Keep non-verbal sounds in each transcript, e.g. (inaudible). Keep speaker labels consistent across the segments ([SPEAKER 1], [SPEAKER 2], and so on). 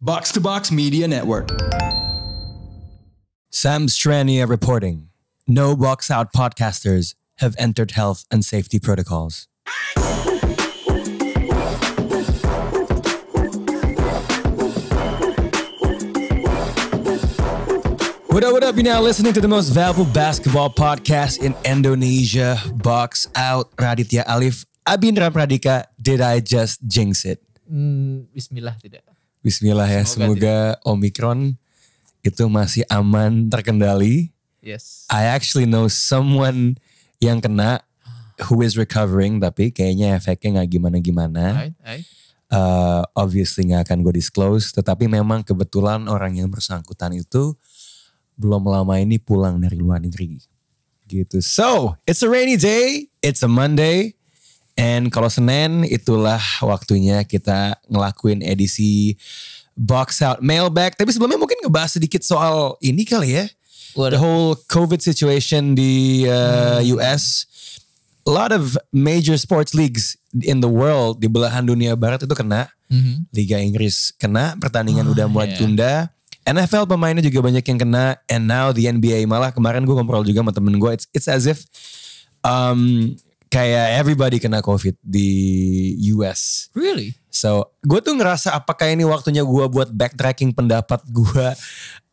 [SPEAKER 1] Box to Box Media Network.
[SPEAKER 2] Sam Strania reporting. No box out podcasters have entered health and safety protocols. What up, what up? You're now listening to the most valuable basketball podcast in Indonesia. Box out Raditya Alif. Abindra Pradika, did I just jinx it?
[SPEAKER 3] Hmm, Bismillah tidak.
[SPEAKER 2] Bismillah ya, semoga,
[SPEAKER 3] Semoga
[SPEAKER 2] Omicron itu masih aman terkendali.
[SPEAKER 3] Yes.
[SPEAKER 2] I actually know someone yang kena who is recovering tapi kayaknya efeknya nggak gimana-gimana.
[SPEAKER 3] Right, right.
[SPEAKER 2] Uh, obviously nggak akan gue disclose. Tetapi memang kebetulan orang yang bersangkutan itu belum lama ini pulang dari luar negeri. Gitu. So it's a rainy day, it's a Monday. And kalau Senin itulah waktunya kita ngelakuin edisi box out mailbag. Tapi sebelumnya mungkin ngebahas sedikit soal ini kali ya. the whole COVID situation, the uh, US, a lot of major sports leagues in the world di belahan dunia barat itu kena.
[SPEAKER 3] Mhm.
[SPEAKER 2] Liga Inggris kena, pertandingan udah mulai
[SPEAKER 3] iya.
[SPEAKER 2] ditunda. NFL pemainnya juga banyak yang kena, and now the NBA malah kemarin gue ngobrol juga sama temen gue, it's, it's as if um, kayak everybody kena COVID di US.
[SPEAKER 3] Really?
[SPEAKER 2] So, gue tuh ngerasa apakah ini waktunya gue buat backtracking pendapat gue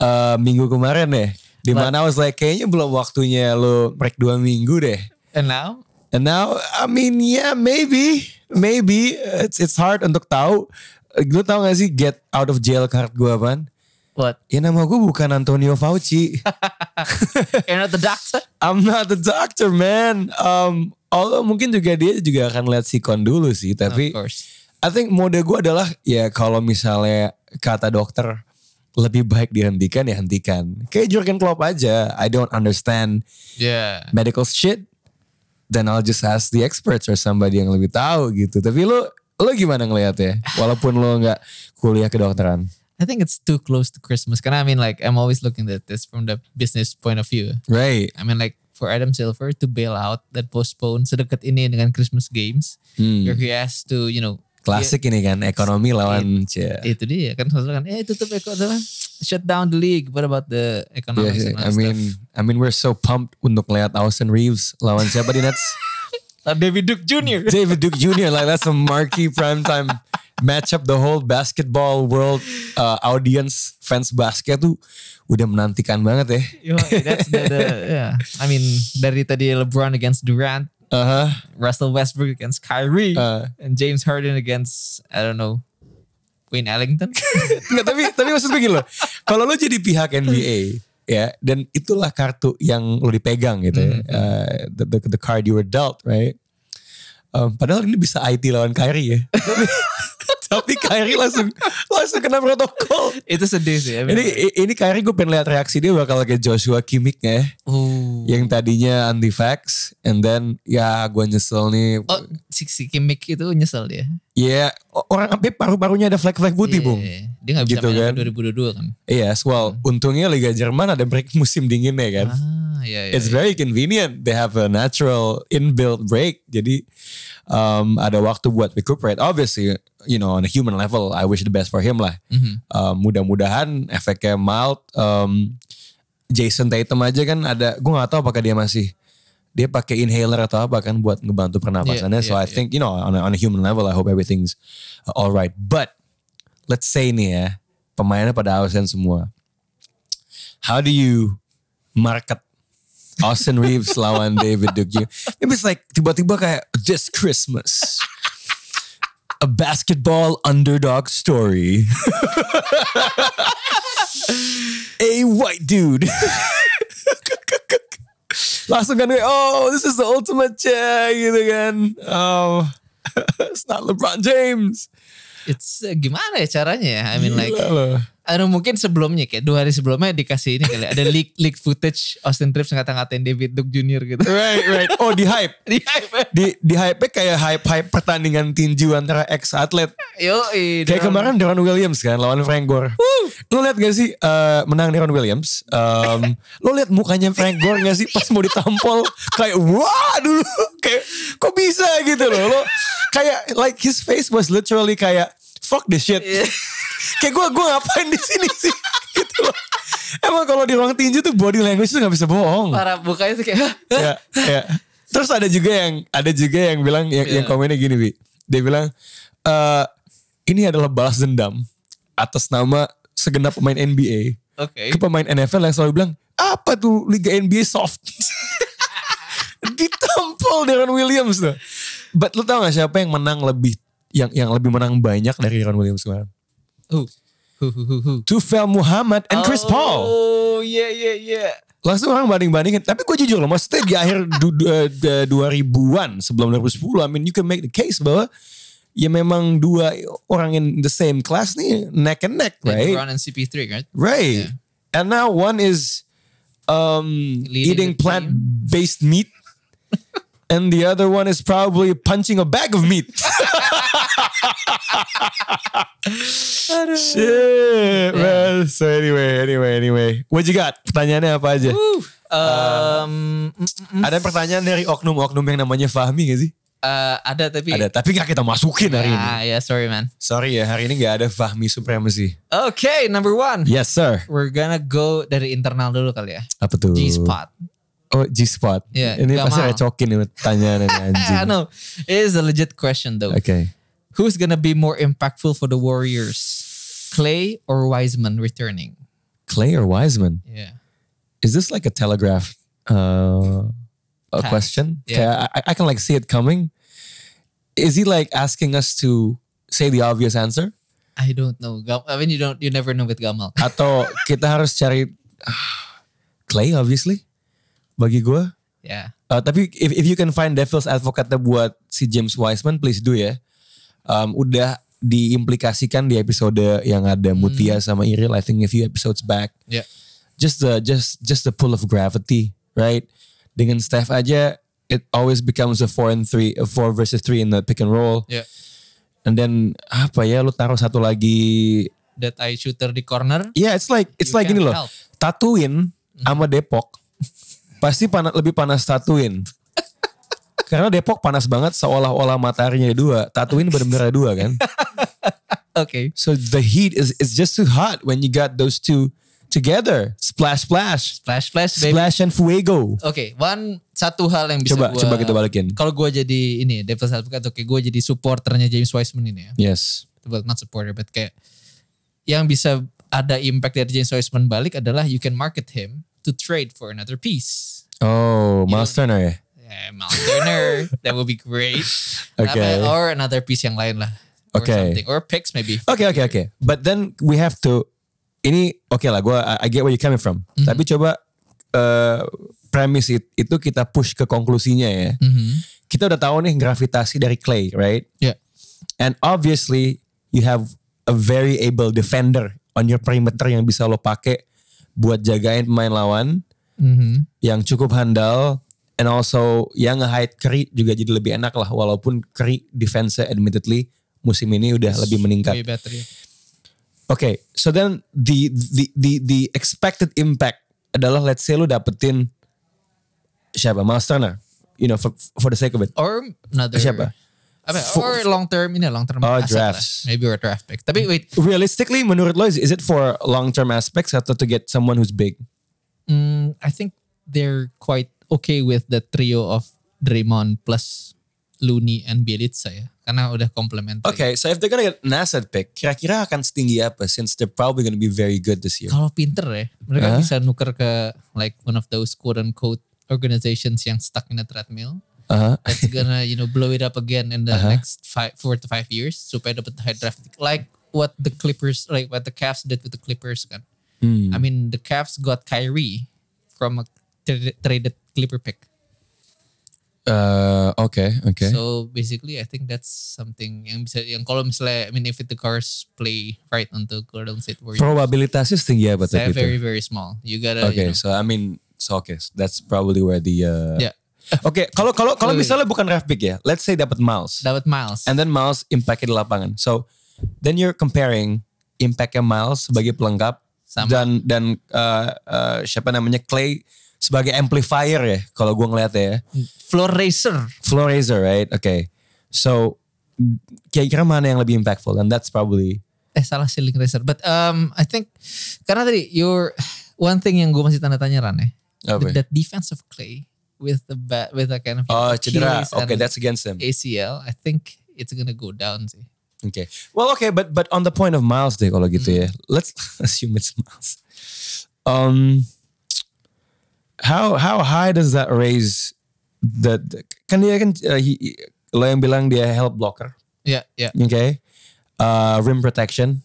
[SPEAKER 2] uh, minggu kemarin ya. Dimana I was like, kayaknya belum waktunya lo break dua minggu deh.
[SPEAKER 3] And now?
[SPEAKER 2] And now, I mean, yeah, maybe, maybe it's it's hard untuk tahu. Gue tau gak sih get out of jail card gue apaan?
[SPEAKER 3] What? (laughs)
[SPEAKER 2] Ya nama gue bukan Antonio Fauci.
[SPEAKER 3] You're not the doctor?
[SPEAKER 2] I'm not the doctor, man. Um, although mungkin juga dia juga akan lihat sikon dulu sih, tapi
[SPEAKER 3] of course.
[SPEAKER 2] I think mode gue adalah ya kalau misalnya kata dokter lebih baik dihentikan ya hentikan. Kayak Jurgen Klopp aja. I don't understand
[SPEAKER 3] Yeah.
[SPEAKER 2] medical shit. Then I'll just ask the experts or somebody yang lebih tahu gitu. Tapi lu lu gimana ngelihatnya? Walaupun lu nggak kuliah kedokteran.
[SPEAKER 3] I think it's too close to Christmas. Cause I mean, like, I'm always looking at this from the business point of view.
[SPEAKER 2] Right.
[SPEAKER 3] I mean, like, for Adam Silver to bail out that postpone sedekat ini dengan Christmas games, where
[SPEAKER 2] Hmm.
[SPEAKER 3] he has to, you know,
[SPEAKER 2] Klasik ini kan ekonomi lawan cia.
[SPEAKER 3] ya, itu dia kan selalu kan, eh tutup eko- apa, shut down the league. What about the
[SPEAKER 2] Yeah,
[SPEAKER 3] economics?
[SPEAKER 2] Iya,
[SPEAKER 3] and all
[SPEAKER 2] I
[SPEAKER 3] that
[SPEAKER 2] mean, I mean we're so pumped untuk lihat Austin Reeves lawan siapa di Nets?
[SPEAKER 3] stuff? Uh, David Duke (laughs) Jr.
[SPEAKER 2] David Duke Jr. Like that's a marquee primetime matchup. The whole basketball world uh, audience fans basket tuh udah menantikan banget ya.
[SPEAKER 3] Yo, that's the, the yeah. I mean dari tadi LeBron against Durant,
[SPEAKER 2] Uh-huh.
[SPEAKER 3] Russell Westbrook against Kyrie,
[SPEAKER 2] Uh.
[SPEAKER 3] and James Harden against I don't know Wayne Ellington. (laughs)
[SPEAKER 2] Nggak, tapi tapi maksud gue gini loh. Kalau lo jadi pihak NBA ya dan itulah kartu yang lo dipegang gitu ya. Uh, the, the, the card you were dealt, right? Um, padahal ini bisa IT lawan Kyrie ya. (laughs) Tapi- tapi Kyrie langsung langsung kena protokol.
[SPEAKER 3] Itu sedih sih. I mean,
[SPEAKER 2] Ini i- ini Kyrie gue pengen lihat reaksi dia bakal kayak Joshua Kimmich ya.
[SPEAKER 3] oh.
[SPEAKER 2] yang tadinya anti vax and then ya gue nyesel nih
[SPEAKER 3] oh si, si Kimmich itu nyesel dia.
[SPEAKER 2] ya o- orang sampai paru-parunya ada flag-flag putih
[SPEAKER 3] Iya,
[SPEAKER 2] bung
[SPEAKER 3] iya. Dia nggak bisa
[SPEAKER 2] Gitu
[SPEAKER 3] main
[SPEAKER 2] kan.
[SPEAKER 3] sampai 2022 kan.
[SPEAKER 2] yes well untungnya Liga Jerman ada break (laughs) musim dinginnya kan
[SPEAKER 3] Ah ya ya.
[SPEAKER 2] it's very convenient they have a natural inbuilt break jadi um, ada waktu buat recuperate obviously you know on a human level I wish the best for him lah
[SPEAKER 3] Mhm.
[SPEAKER 2] Uh, mudah-mudahan efeknya mild um, Jason Tatum aja kan ada gue nggak tahu apakah dia masih dia pakai inhaler atau apa kan buat ngebantu pernapasannya
[SPEAKER 3] Iya,
[SPEAKER 2] so
[SPEAKER 3] iya,
[SPEAKER 2] I think you know on a, on a human level I hope everything's alright but let's say nih ya pemainnya pada Austin semua how do you market Austin
[SPEAKER 3] (laughs)
[SPEAKER 2] Reeves lawan David Duke Jr. Maybe it's like tiba-tiba kayak this Christmas a basketball underdog story. a white dude. Langsung kan gue, oh this is the ultimate check gitu kan. Oh, (laughs) it's not LeBron James.
[SPEAKER 3] It's eh, gimana ya caranya ya? I mean like
[SPEAKER 2] Gila loh.
[SPEAKER 3] Aduh mungkin sebelumnya kayak dua hari sebelumnya dikasih ini kali ya. ada leak leak footage Austin Reeves ngata-ngatain David Duke Jr. gitu.
[SPEAKER 2] (laughs) Right, right. Oh di hype.
[SPEAKER 3] Di hype.
[SPEAKER 2] Di, di hype kayak hype-hype pertandingan tinju antara ex-atlet.
[SPEAKER 3] Yo,
[SPEAKER 2] Kayak
[SPEAKER 3] (laughs)
[SPEAKER 2] kemarin Deron Williams kan lawan Frank Gore. Lo lihat gak sih eh, menang Deron Williams? Em, lo lihat mukanya Frank Gore gak sih pas mau ditampol kayak wah dulu (laughs) kayak kok bisa
[SPEAKER 3] Iya.
[SPEAKER 2] gitu loh. Lo kayak like his face was literally kayak fuck this shit. Kayak gue gue ngapain di sini sih? (laughs) gitu loh. Emang kalau di ruang tinju tuh body language tuh nggak bisa bohong.
[SPEAKER 3] Para bukanya tuh kayak (laughs) "Hah? Hah?"
[SPEAKER 2] ya, ya. Terus ada juga yang ada juga yang bilang yang, yang
[SPEAKER 3] Iya.
[SPEAKER 2] komennya gini bi, dia bilang "Eh, ini adalah balas dendam atas nama segenap pemain NBA
[SPEAKER 3] Oke.
[SPEAKER 2] ke pemain NFL yang selalu bilang apa tuh Liga NBA soft (laughs) ditampol Deron Williams tuh. But lu tau gak siapa yang menang lebih yang yang lebih menang banyak dari Deron Williams kemarin?
[SPEAKER 3] Hu, hu, hu, hu, hu.
[SPEAKER 2] Tufel Muhammad and Chris Paul.
[SPEAKER 3] Oh iya iya iya.
[SPEAKER 2] Langsung orang banding-bandingin. Tapi gue jujur loh, maksudnya di akhir du, du, eh, 2000-an sebelum 2010, I mean you can make the case bahwa ya memang dua orang in the same class nih neck and neck,
[SPEAKER 3] Dan
[SPEAKER 2] right?
[SPEAKER 3] Brown and CP3 kan.
[SPEAKER 2] Right. And now one is um,
[SPEAKER 3] Leading
[SPEAKER 2] eating
[SPEAKER 3] the team.
[SPEAKER 2] plant based meat, (laughs) and the other one is probably punching a bag of
[SPEAKER 3] (laughs)
[SPEAKER 2] meat. Shit, man. So anyway, anyway, anyway. What you got? Pertanyaannya apa aja?
[SPEAKER 3] Wuh, um, mm, mm, mm.
[SPEAKER 2] Ada pertanyaan dari oknum-oknum yang namanya Fahmi gak sih?
[SPEAKER 3] Eh, ada tapi
[SPEAKER 2] Ada, tapi gak kita masukin hari ini.
[SPEAKER 3] Ah ya sorry man.
[SPEAKER 2] Sorry ya, hari ini gak ada Fahmi Supremacy.
[SPEAKER 3] Okay number one.
[SPEAKER 2] Yes sir.
[SPEAKER 3] We're gonna go dari internal dulu kali ya.
[SPEAKER 2] Apa tuh?
[SPEAKER 3] G-spot.
[SPEAKER 2] Oh G-spot.
[SPEAKER 3] Iya,
[SPEAKER 2] ini
[SPEAKER 3] gak
[SPEAKER 2] pasti
[SPEAKER 3] mau.
[SPEAKER 2] recokin nih
[SPEAKER 3] (laughs)
[SPEAKER 2] pertanyaannya anjing.
[SPEAKER 3] I know. Ah, It is a legit question though.
[SPEAKER 2] Oke.
[SPEAKER 3] Who's gonna be more impactful for the Warriors? Clay or Wiseman returning?
[SPEAKER 2] Clay or Wiseman?
[SPEAKER 3] Yeah.
[SPEAKER 2] Is this like a telegraph uh, a
[SPEAKER 3] Task.
[SPEAKER 2] question?
[SPEAKER 3] Yeah.
[SPEAKER 2] Kayak, I, I can like see it coming. Is he like asking us to say the obvious answer?
[SPEAKER 3] I don't know. Gam- I mean you don't you never know with Gamal.
[SPEAKER 2] Atau (laughs) kita harus cari ah, Clay obviously bagi gue.
[SPEAKER 3] Yeah.
[SPEAKER 2] Uh, tapi if, if you can find devil's advocate buat si James Wiseman, please do ya. Um, udah diimplikasikan di episode yang ada Mutia sama Iril, I think a few episodes back.
[SPEAKER 3] Yeah.
[SPEAKER 2] Just the just just the pull of gravity, right? Dengan Steph aja, it always becomes a four and three, a four versus three in the pick and roll.
[SPEAKER 3] Yeah.
[SPEAKER 2] And then apa ya? Lu taruh satu lagi.
[SPEAKER 3] That I shooter di corner.
[SPEAKER 2] Yeah, it's like it's
[SPEAKER 3] You
[SPEAKER 2] like
[SPEAKER 3] can
[SPEAKER 2] gini loh.
[SPEAKER 3] help.
[SPEAKER 2] Tatuin sama Depok pasti pana- lebih panas Tatuin. Karena Depok panas banget seolah-olah mataharinya ada dua. Tatuin benar-benar ada dua kan.
[SPEAKER 3] Okay.
[SPEAKER 2] So the heat is it's just too hot when you got those two together. Splash splash.
[SPEAKER 3] Flash flash baby.
[SPEAKER 2] Splash and fuego.
[SPEAKER 3] Oke, one satu hal yang bisa
[SPEAKER 2] Coba
[SPEAKER 3] gua-
[SPEAKER 2] coba kita balikin.
[SPEAKER 3] Kalau gue jadi ini devil's advocate, oke gue jadi supporternya James Wiseman ini ya.
[SPEAKER 2] Yes.
[SPEAKER 3] Well, not supporter, but kayak yang bisa ada impact dari James Wiseman balik adalah you can market him to trade for another piece.
[SPEAKER 2] Oh, Miles Turner ya.
[SPEAKER 3] Eh,
[SPEAKER 2] (laughs)
[SPEAKER 3] Miles Turner, that would be great.
[SPEAKER 2] Oke.
[SPEAKER 3] Apa- ya? Or another piece yang lain lah. Or
[SPEAKER 2] Oke.
[SPEAKER 3] something. Or picks maybe.
[SPEAKER 2] Oke oke oke. But then we have to ini oke lah gua I, I get where you coming from. Tapi coba eh premis it- itu kita push ke konklusinya ya.
[SPEAKER 3] Mhm.
[SPEAKER 2] kita udah tahu nih gravitasi dari Clay, right?
[SPEAKER 3] Yeah.
[SPEAKER 2] And obviously you have a very able defender on your perimeter yang bisa lo pakai buat jagain pemain lawan
[SPEAKER 3] Mhm.
[SPEAKER 2] yang cukup handal and also yang nge-hide Curry juga jadi lebih enak lah walaupun Curry defense admittedly musim ini udah lebih meningkat.
[SPEAKER 3] Way better, ya.
[SPEAKER 2] Oke, so then the the the the expected impact adalah let's say lu dapetin siapa? Miles Turner, you know for for the sake of it.
[SPEAKER 3] Or another.
[SPEAKER 2] Siapa?
[SPEAKER 3] Apa,
[SPEAKER 2] For-
[SPEAKER 3] or long term ini long term
[SPEAKER 2] Oh,
[SPEAKER 3] aset lah.
[SPEAKER 2] drafts.
[SPEAKER 3] Maybe or draft pick. Tapi wait,
[SPEAKER 2] realistically menurut lo is, is it for long term aspects atau to get someone who's big?
[SPEAKER 3] Mm, I think they're quite okay with the trio of Draymond plus Looney and Bielitsa ya. Karena udah complementary.
[SPEAKER 2] Okay, so if they're gonna get an asset pick, kira-kira akan setinggi apa? Since they're probably gonna be very good this year.
[SPEAKER 3] Kalau pinter ya, mereka
[SPEAKER 2] Huh?
[SPEAKER 3] bisa nuker ke like one of those quote unquote organizations yang stuck in a treadmill.
[SPEAKER 2] Uh-huh. (laughs)
[SPEAKER 3] That's gonna you know blow it up again in the
[SPEAKER 2] Uh-huh.
[SPEAKER 3] next five, four to five years supaya dapat high draft. pick. Like what the Clippers, like what the Cavs did with the Clippers kan.
[SPEAKER 2] Hmm.
[SPEAKER 3] I mean the Cavs got Kyrie from a tra- traded Clipper pick.
[SPEAKER 2] Uh, okay, okay.
[SPEAKER 3] So basically I think that's something yang bisa yang kalau misalnya I mean if it the cars play right onto Golden State Warriors
[SPEAKER 2] Probabilitasnya setinggi apa tapi
[SPEAKER 3] they're very
[SPEAKER 2] itu?
[SPEAKER 3] very small. You gotta
[SPEAKER 2] Okay,
[SPEAKER 3] you know,
[SPEAKER 2] so I mean, so okay, so that's probably where the. Uh,
[SPEAKER 3] yeah.
[SPEAKER 2] Oke, kalau kalau kalau
[SPEAKER 3] Wait, wait.
[SPEAKER 2] misalnya bukan draft pick ya, let's say dapat Miles,
[SPEAKER 3] Dapat Miles.
[SPEAKER 2] and then Miles impactnya di lapangan. So then you're comparing impactnya Miles sebagai pelengkap
[SPEAKER 3] Sama.
[SPEAKER 2] dan dan uh, uh, siapa namanya Clay sebagai amplifier ya kalau gue ngeliat ya
[SPEAKER 3] Floor racer.
[SPEAKER 2] floor raiser right okay so kira-kira mana yang lebih impactful and that's probably
[SPEAKER 3] eh salah ceiling raiser. But um I think karena tadi your one thing yang gue masih tanda tanya Ran ya.
[SPEAKER 2] Apa?
[SPEAKER 3] That defense of Clay with the ba- with a kind of
[SPEAKER 2] Oh, cedera.
[SPEAKER 3] Achilles
[SPEAKER 2] Okay,
[SPEAKER 3] and
[SPEAKER 2] that's against them.
[SPEAKER 3] ACL. I think it's gonna go down sih.
[SPEAKER 2] Okay. Well, okay, but but on the point of Miles deh kalau gitu ya. Let's (laughs) assume it's Miles. Um how how high does that raise the the- kan dia kan uh, he- lo yang bilang dia help blocker,
[SPEAKER 3] Ya, ya.
[SPEAKER 2] okay? Uh, rim protection.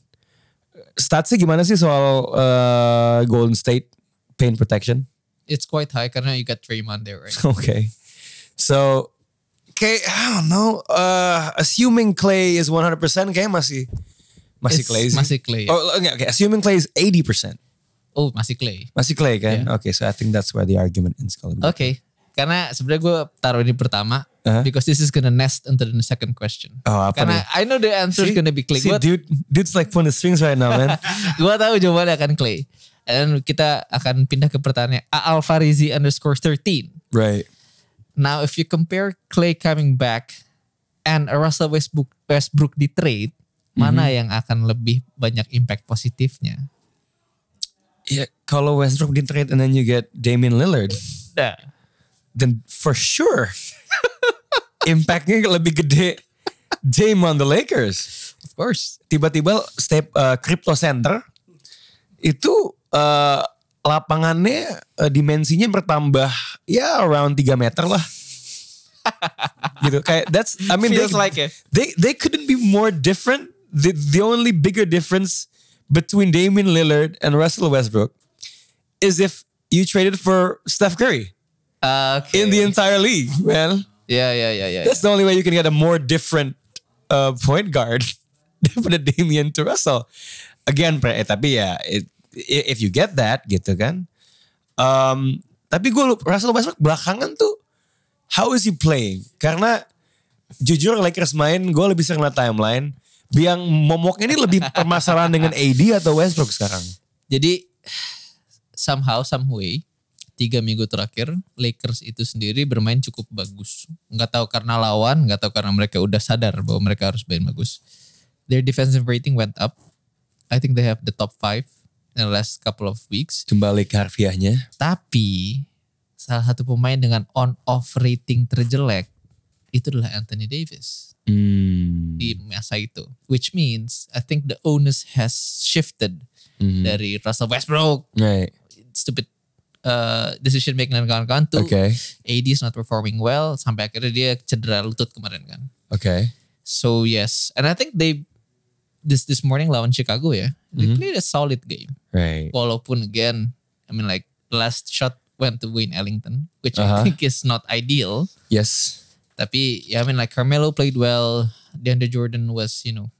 [SPEAKER 2] Statsnya gimana sih soal uh, Golden State paint protection? (laughs)
[SPEAKER 3] It's quite high karena you got Draymond there, right?
[SPEAKER 2] Okay. So kayak I don't know. Uh, assuming Clay is 100% kayak masih (laughs) masih
[SPEAKER 3] It's-
[SPEAKER 2] Clay sih.
[SPEAKER 3] Masih Clay. ya. Oh.
[SPEAKER 2] Oh, okay, okay. Assuming Clay is 80%. Oh.
[SPEAKER 3] masih Clay.
[SPEAKER 2] Masih Clay kan? Okay, so I think that's where the argument ends kalau
[SPEAKER 3] Oke.
[SPEAKER 2] begitu.
[SPEAKER 3] Karena sebenarnya gue taruh ini pertama
[SPEAKER 2] Uh-huh.
[SPEAKER 3] because this is gonna nest into the second question.
[SPEAKER 2] Oh, apa
[SPEAKER 3] Karena I know the answer is
[SPEAKER 2] See?
[SPEAKER 3] gonna be Clay.
[SPEAKER 2] See,
[SPEAKER 3] Gua-
[SPEAKER 2] dude, dude's like pulling the strings right now,
[SPEAKER 3] (laughs)
[SPEAKER 2] man.
[SPEAKER 3] Gua tahu jawabannya akan Clay. Dan kita akan pindah ke pertanyaan A Alfarizi underscore 13.
[SPEAKER 2] right.
[SPEAKER 3] Now if you compare Clay coming back and a Russell Westbrook, Westbrook di trade,
[SPEAKER 2] Mhm.
[SPEAKER 3] mana yang akan lebih banyak impact positifnya?
[SPEAKER 2] Ya, kalau Westbrook di trade and then you get Damian Lillard,
[SPEAKER 3] Nah.
[SPEAKER 2] then for sure (laughs) impactnya lebih gede Dame on the Lakers.
[SPEAKER 3] Of course.
[SPEAKER 2] Tiba-tiba step uh, crypto center itu uh, lapangannya uh, dimensinya bertambah ya around 3 meter lah. (laughs) gitu kayak that's I mean
[SPEAKER 3] Feels
[SPEAKER 2] they-
[SPEAKER 3] like it.
[SPEAKER 2] they they couldn't be more different. The the only bigger difference between Damian Lillard and Russell Westbrook is if you traded for Steph Curry
[SPEAKER 3] Uh, okay.
[SPEAKER 2] in the entire league, man.
[SPEAKER 3] Ya ya ya ya.
[SPEAKER 2] That's the only way you can get a more different uh, point guard (laughs) daripada Damian to Russell. Again, pre, eh, tapi ya it, i- if you get that gitu kan. Um, tapi gue lup- Russell Westbrook belakangan tuh how is he playing? Karena jujur Lakers main gue lebih sering liat timeline. Yang momoknya ini lebih permasalahan dengan AD atau Westbrook sekarang?
[SPEAKER 3] Jadi somehow some way tiga minggu terakhir Lakers itu sendiri bermain cukup bagus. Nggak tahu karena lawan, nggak tahu karena mereka udah sadar bahwa mereka harus main bagus. Their defensive rating went up. I think they have the top five in the last couple of weeks.
[SPEAKER 2] Kembali ke harfiahnya.
[SPEAKER 3] Tapi salah satu pemain dengan on off rating terjelek itu adalah Anthony Davis
[SPEAKER 2] Hmm.
[SPEAKER 3] di masa itu. Which means I think the onus has shifted
[SPEAKER 2] Mhm. Hmm.
[SPEAKER 3] dari Russell Westbrook
[SPEAKER 2] Right.
[SPEAKER 3] stupid uh, decision making dan kawan-kawan tuh
[SPEAKER 2] Okay.
[SPEAKER 3] AD is not performing well sampai akhirnya dia cedera lutut kemarin kan.
[SPEAKER 2] Okay.
[SPEAKER 3] So yes, and I think they this this morning lawan Chicago ya, they
[SPEAKER 2] Mm-hmm.
[SPEAKER 3] played a solid game.
[SPEAKER 2] Right.
[SPEAKER 3] Walaupun again, I mean like last shot went to Wayne Ellington, which
[SPEAKER 2] Uh-huh.
[SPEAKER 3] I think is not ideal.
[SPEAKER 2] Yes.
[SPEAKER 3] Tapi ya I mean like Carmelo played well, DeAndre Jordan was you know,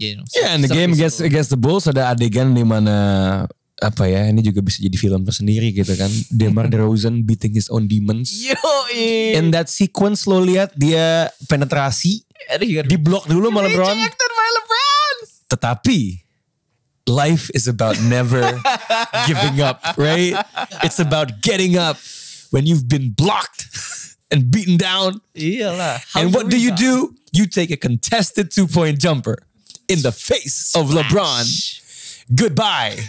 [SPEAKER 3] you know.
[SPEAKER 2] Yeah, and the game against (laughs)
[SPEAKER 3] serviceable.
[SPEAKER 2] against the Bulls ada adegan di mana apa ya ini juga bisa jadi film tersendiri gitu
[SPEAKER 3] (laughs)
[SPEAKER 2] kan. Demar Derozan beating his own demons.
[SPEAKER 3] Yoi.
[SPEAKER 2] In that sequence lo lihat dia penetrasi
[SPEAKER 3] Aduh, you got
[SPEAKER 2] di blok dulu sama LeBron.
[SPEAKER 3] rejected by LeBron.
[SPEAKER 2] Tetapi life is about
[SPEAKER 3] (laughs)
[SPEAKER 2] never giving up, right? It's about getting up when you've been blocked and beaten down.
[SPEAKER 3] Iyalah. (sighs) How
[SPEAKER 2] and what
[SPEAKER 3] to
[SPEAKER 2] do you
[SPEAKER 3] rebound.
[SPEAKER 2] do? You take a contested two point jumper in the face of LeBron. Goodbye. (laughs)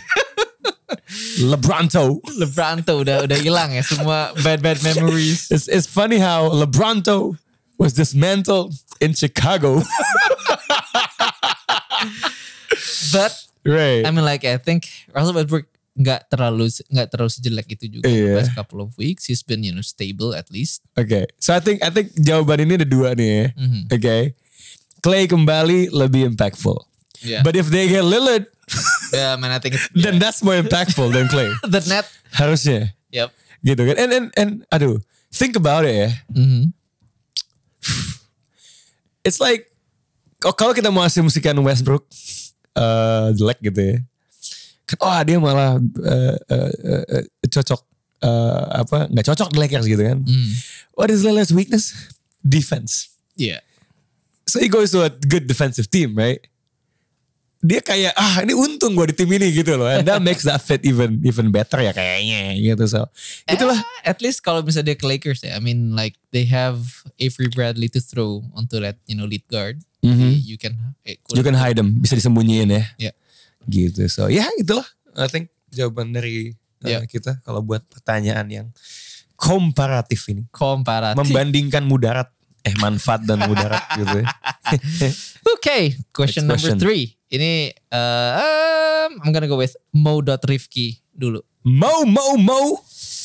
[SPEAKER 2] LeBronto.
[SPEAKER 3] Lebranto udah udah hilang ya semua (laughs) bad bad memories.
[SPEAKER 2] It's, it's funny how LeBronto was dismantled in
[SPEAKER 3] (laughs)
[SPEAKER 2] Chicago.
[SPEAKER 3] But
[SPEAKER 2] right.
[SPEAKER 3] I mean like I think Russell Westbrook nggak terlalu nggak terlalu sejelek itu juga.
[SPEAKER 2] Iya.
[SPEAKER 3] Last couple of weeks he's been you know stable at least.
[SPEAKER 2] Okay. So I think I think jawaban ini ada dua nih. ya. eh?
[SPEAKER 3] Mm-hmm.
[SPEAKER 2] Okay. Clay kembali lebih impactful.
[SPEAKER 3] Yeah.
[SPEAKER 2] But if they get Lillard,
[SPEAKER 3] Yeah, man I think it's,
[SPEAKER 2] then that's more impactful than
[SPEAKER 3] (laughs)
[SPEAKER 2] Clay.
[SPEAKER 3] the net.
[SPEAKER 2] Harusnya.
[SPEAKER 3] Yep.
[SPEAKER 2] Gitu kan. And and and aduh, think about it ya.
[SPEAKER 3] Mhm.
[SPEAKER 2] It's like oh, kalau kita mau asumsikan Westbrook eh jelek gitu ya. Kan, oh dia malah eh, eh, eh, eh, cocok eh, apa nggak cocok di Lakers gitu kan. What is Lillard's weakness? Defense.
[SPEAKER 3] Yeah.
[SPEAKER 2] So he goes to a good defensive team, right? dia kayak ah ini untung gue di tim ini gitu loh. And that makes that fit even even better ya kayaknya gitu so. Itulah
[SPEAKER 3] Eh, at least kalau misalnya dia ke Lakers ya. I mean like they have Avery Bradley to throw onto that you know lead guard.
[SPEAKER 2] Mhm.
[SPEAKER 3] You can eh,
[SPEAKER 2] you can hide them bisa disembunyiin ya.
[SPEAKER 3] Iya.
[SPEAKER 2] Gitu so ya itulah I think jawaban dari uh,
[SPEAKER 3] Iya.
[SPEAKER 2] kita kalau buat pertanyaan yang komparatif ini
[SPEAKER 3] komparatif.
[SPEAKER 2] membandingkan mudarat eh manfaat dan mudarat gitu ya.
[SPEAKER 3] Okay, question
[SPEAKER 2] Next
[SPEAKER 3] number
[SPEAKER 2] question.
[SPEAKER 3] three. Ini uh, um, I'm gonna go with Mo dot Rifki dulu.
[SPEAKER 2] Mo Mo Mo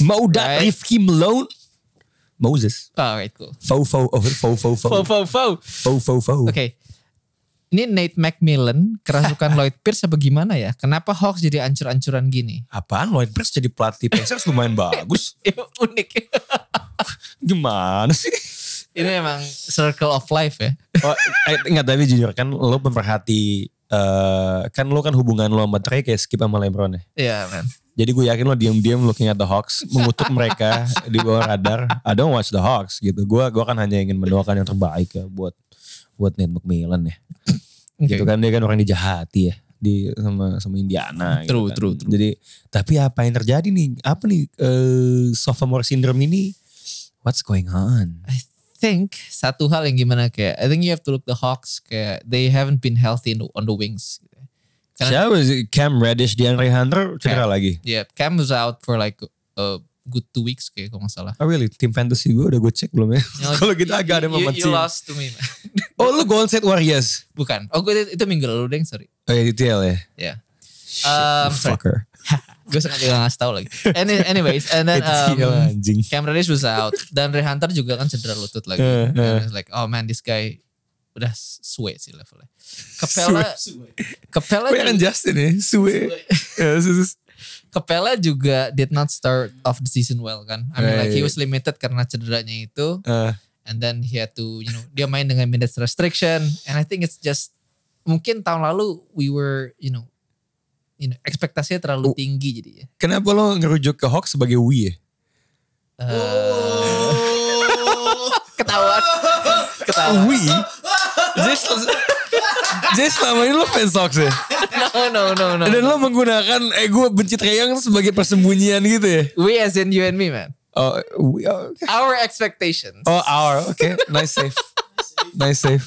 [SPEAKER 2] Mo dot
[SPEAKER 3] Right.
[SPEAKER 2] Rifki Malone Moses
[SPEAKER 3] Alright, cool.
[SPEAKER 2] fo fo oh, fo fo fo
[SPEAKER 3] Fo fo fo.
[SPEAKER 2] fo fo fo
[SPEAKER 3] Oke. Ini Nate McMillan
[SPEAKER 2] (laughs)
[SPEAKER 3] kerasukan Lloyd Pierce apa gimana ya? Kenapa Hawks jadi ancur-ancuran gini?
[SPEAKER 2] apaan Lloyd Pierce jadi pelatih Pacers lumayan bagus
[SPEAKER 3] Eh, Unik.
[SPEAKER 2] gimana sih
[SPEAKER 3] (laughs) Ini emang circle of life ya.
[SPEAKER 2] oh, eh, ingat tapi jujur kan lo pemerhati eh kan lo kan hubungan lo sama Trey kayak skip sama Lebron ya
[SPEAKER 3] Iya, man.
[SPEAKER 2] jadi gue yakin lo diam-diam looking at the Hawks mengutuk
[SPEAKER 3] (laughs)
[SPEAKER 2] mereka di bawah radar I don't watch the Hawks gitu gue gua kan hanya ingin mendoakan yang terbaik ya buat buat Nate McMillan ya
[SPEAKER 3] Oke.
[SPEAKER 2] gitu kan dia kan orang dijahati ya di sama sama Indiana gitu
[SPEAKER 3] True,
[SPEAKER 2] kan.
[SPEAKER 3] true, true.
[SPEAKER 2] jadi tapi apa yang terjadi nih apa nih eh, sophomore syndrome ini what's going on
[SPEAKER 3] I think satu hal yang gimana kayak I think you have to look the Hawks kayak they haven't been healthy in the- on the wings. Karena- Ya.
[SPEAKER 2] siapa sih? Cam Reddish DeAndre Hunter cedera lagi
[SPEAKER 3] Yeah, Cam was out for like a good two weeks kayak kalau nggak salah.
[SPEAKER 2] oh really tim fantasy gue udah gue cek belum ya (laughs) kalau gitu
[SPEAKER 3] You-
[SPEAKER 2] agak ada
[SPEAKER 3] you,
[SPEAKER 2] momen
[SPEAKER 3] you
[SPEAKER 2] sih.
[SPEAKER 3] lost to me. man.
[SPEAKER 2] oh lu Golden State Warriors
[SPEAKER 3] Bukan. Oh, gue itu minggu lalu deng, sorry.
[SPEAKER 2] oh ya detail ya
[SPEAKER 3] Ya.
[SPEAKER 2] Shit,
[SPEAKER 3] Um,
[SPEAKER 2] you
[SPEAKER 3] sorry.
[SPEAKER 2] fucker
[SPEAKER 3] Gue sengaja gak ngasih
[SPEAKER 2] (laughs)
[SPEAKER 3] tau lagi. Any, anyways, and then
[SPEAKER 2] Kecil,
[SPEAKER 3] um,
[SPEAKER 2] anjing
[SPEAKER 3] Cam Reddish was out. Dan Ray Hunter juga kan cedera lutut lagi.
[SPEAKER 2] Eh,
[SPEAKER 3] And
[SPEAKER 2] eh.
[SPEAKER 3] it's like, oh man, this guy udah suwe sih levelnya. Capella, Capella,
[SPEAKER 2] Gue kan
[SPEAKER 3] juga,
[SPEAKER 2] Justin ya Sue Ya, sus- sus.
[SPEAKER 3] Capella juga did not start off the season well kan. I mean like he
[SPEAKER 2] Right.
[SPEAKER 3] was limited karena cederanya itu.
[SPEAKER 2] Eh,
[SPEAKER 3] and then he had to you know dia main dengan minutes restriction and I think it's just mungkin tahun lalu we were you know you know ekspektasinya
[SPEAKER 2] Oh.
[SPEAKER 3] terlalu tinggi jadi ya
[SPEAKER 2] Kenapa lo ngerujuk ke Hawks sebagai Wii ya?
[SPEAKER 3] Uh, Oh. ketawa ketawa
[SPEAKER 2] Oh, Wii? Jadi, sel- jadi selama ini lo fans Hawks ya?
[SPEAKER 3] (laughs) no no no no
[SPEAKER 2] Dan lo menggunakan eh gue benci Trae Young sebagai persembunyian gitu ya?
[SPEAKER 3] we as in you and me man
[SPEAKER 2] Oh, we, oh, okay.
[SPEAKER 3] our expectations
[SPEAKER 2] oh our, oke, nice
[SPEAKER 3] (laughs)
[SPEAKER 2] save, nice save.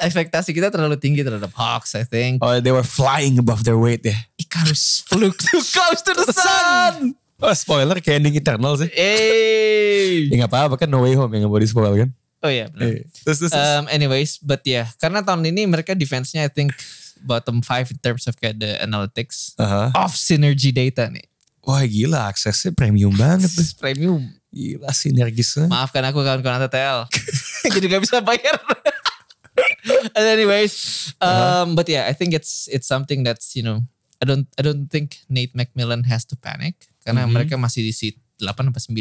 [SPEAKER 3] ekspektasi kita terlalu tinggi terhadap Hawks I think
[SPEAKER 2] Oh, they were flying above their weight ya.
[SPEAKER 3] Icarus flew too close to the sun
[SPEAKER 2] Oh, spoiler kayak ending Eternal sih.
[SPEAKER 3] hey
[SPEAKER 2] Ya nggak apa-apa kan No Way Home yang nggak boleh di spoil kan?
[SPEAKER 3] oh ya
[SPEAKER 2] Eh,
[SPEAKER 3] benar
[SPEAKER 2] Terus terus. terus.
[SPEAKER 3] Um, anyways, but yeah, karena tahun ini mereka defense-nya I think bottom five in terms of kayak the analytics
[SPEAKER 2] Aha.
[SPEAKER 3] of synergy data nih.
[SPEAKER 2] Wah gila aksesnya premium banget tuh.
[SPEAKER 3] Premium.
[SPEAKER 2] Gila sinergisnya.
[SPEAKER 3] Maafkan aku
[SPEAKER 2] (laughs)
[SPEAKER 3] kawan-kawan TTL. Jadi gak bisa bayar. (laughs) And anyways,
[SPEAKER 2] Uh-huh.
[SPEAKER 3] um, but yeah, I think it's it's something that's you know I don't I don't think Nate McMillan has to panic karena
[SPEAKER 2] Mm-hmm.
[SPEAKER 3] mereka masih di seat 8 apa 9.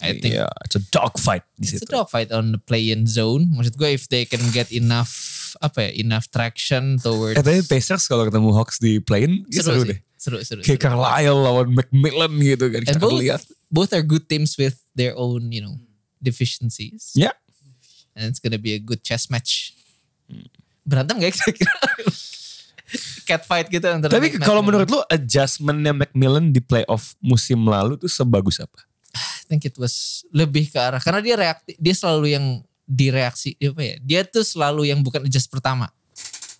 [SPEAKER 3] I think
[SPEAKER 2] Iya, it's a dogfight di
[SPEAKER 3] It's
[SPEAKER 2] situ.
[SPEAKER 3] a dogfight on the play-in zone. Maksud gue if they can get enough apa ya, enough traction towards
[SPEAKER 2] Katanya Eh, Pacers kalau ketemu Hawks di plane ya seru,
[SPEAKER 3] seru, sih.
[SPEAKER 2] deh.
[SPEAKER 3] Seru, seru.
[SPEAKER 2] Kayak
[SPEAKER 3] seru.
[SPEAKER 2] Carlisle lawan McMillan gitu kan. Kita
[SPEAKER 3] And both,
[SPEAKER 2] lihat.
[SPEAKER 3] both are good teams with their own, you know, deficiencies.
[SPEAKER 2] Ya.
[SPEAKER 3] And it's gonna be a good chess match. Berantem (laughs) gak kira-kira? Cat fight gitu antara
[SPEAKER 2] Tapi
[SPEAKER 3] Nick
[SPEAKER 2] kalau
[SPEAKER 3] Nurse.
[SPEAKER 2] menurut lu adjustmentnya McMillan di playoff musim lalu tuh sebagus apa?
[SPEAKER 3] I think it was lebih ke arah karena dia reaktif dia selalu yang direaksi dia apa ya dia tuh selalu yang bukan adjust pertama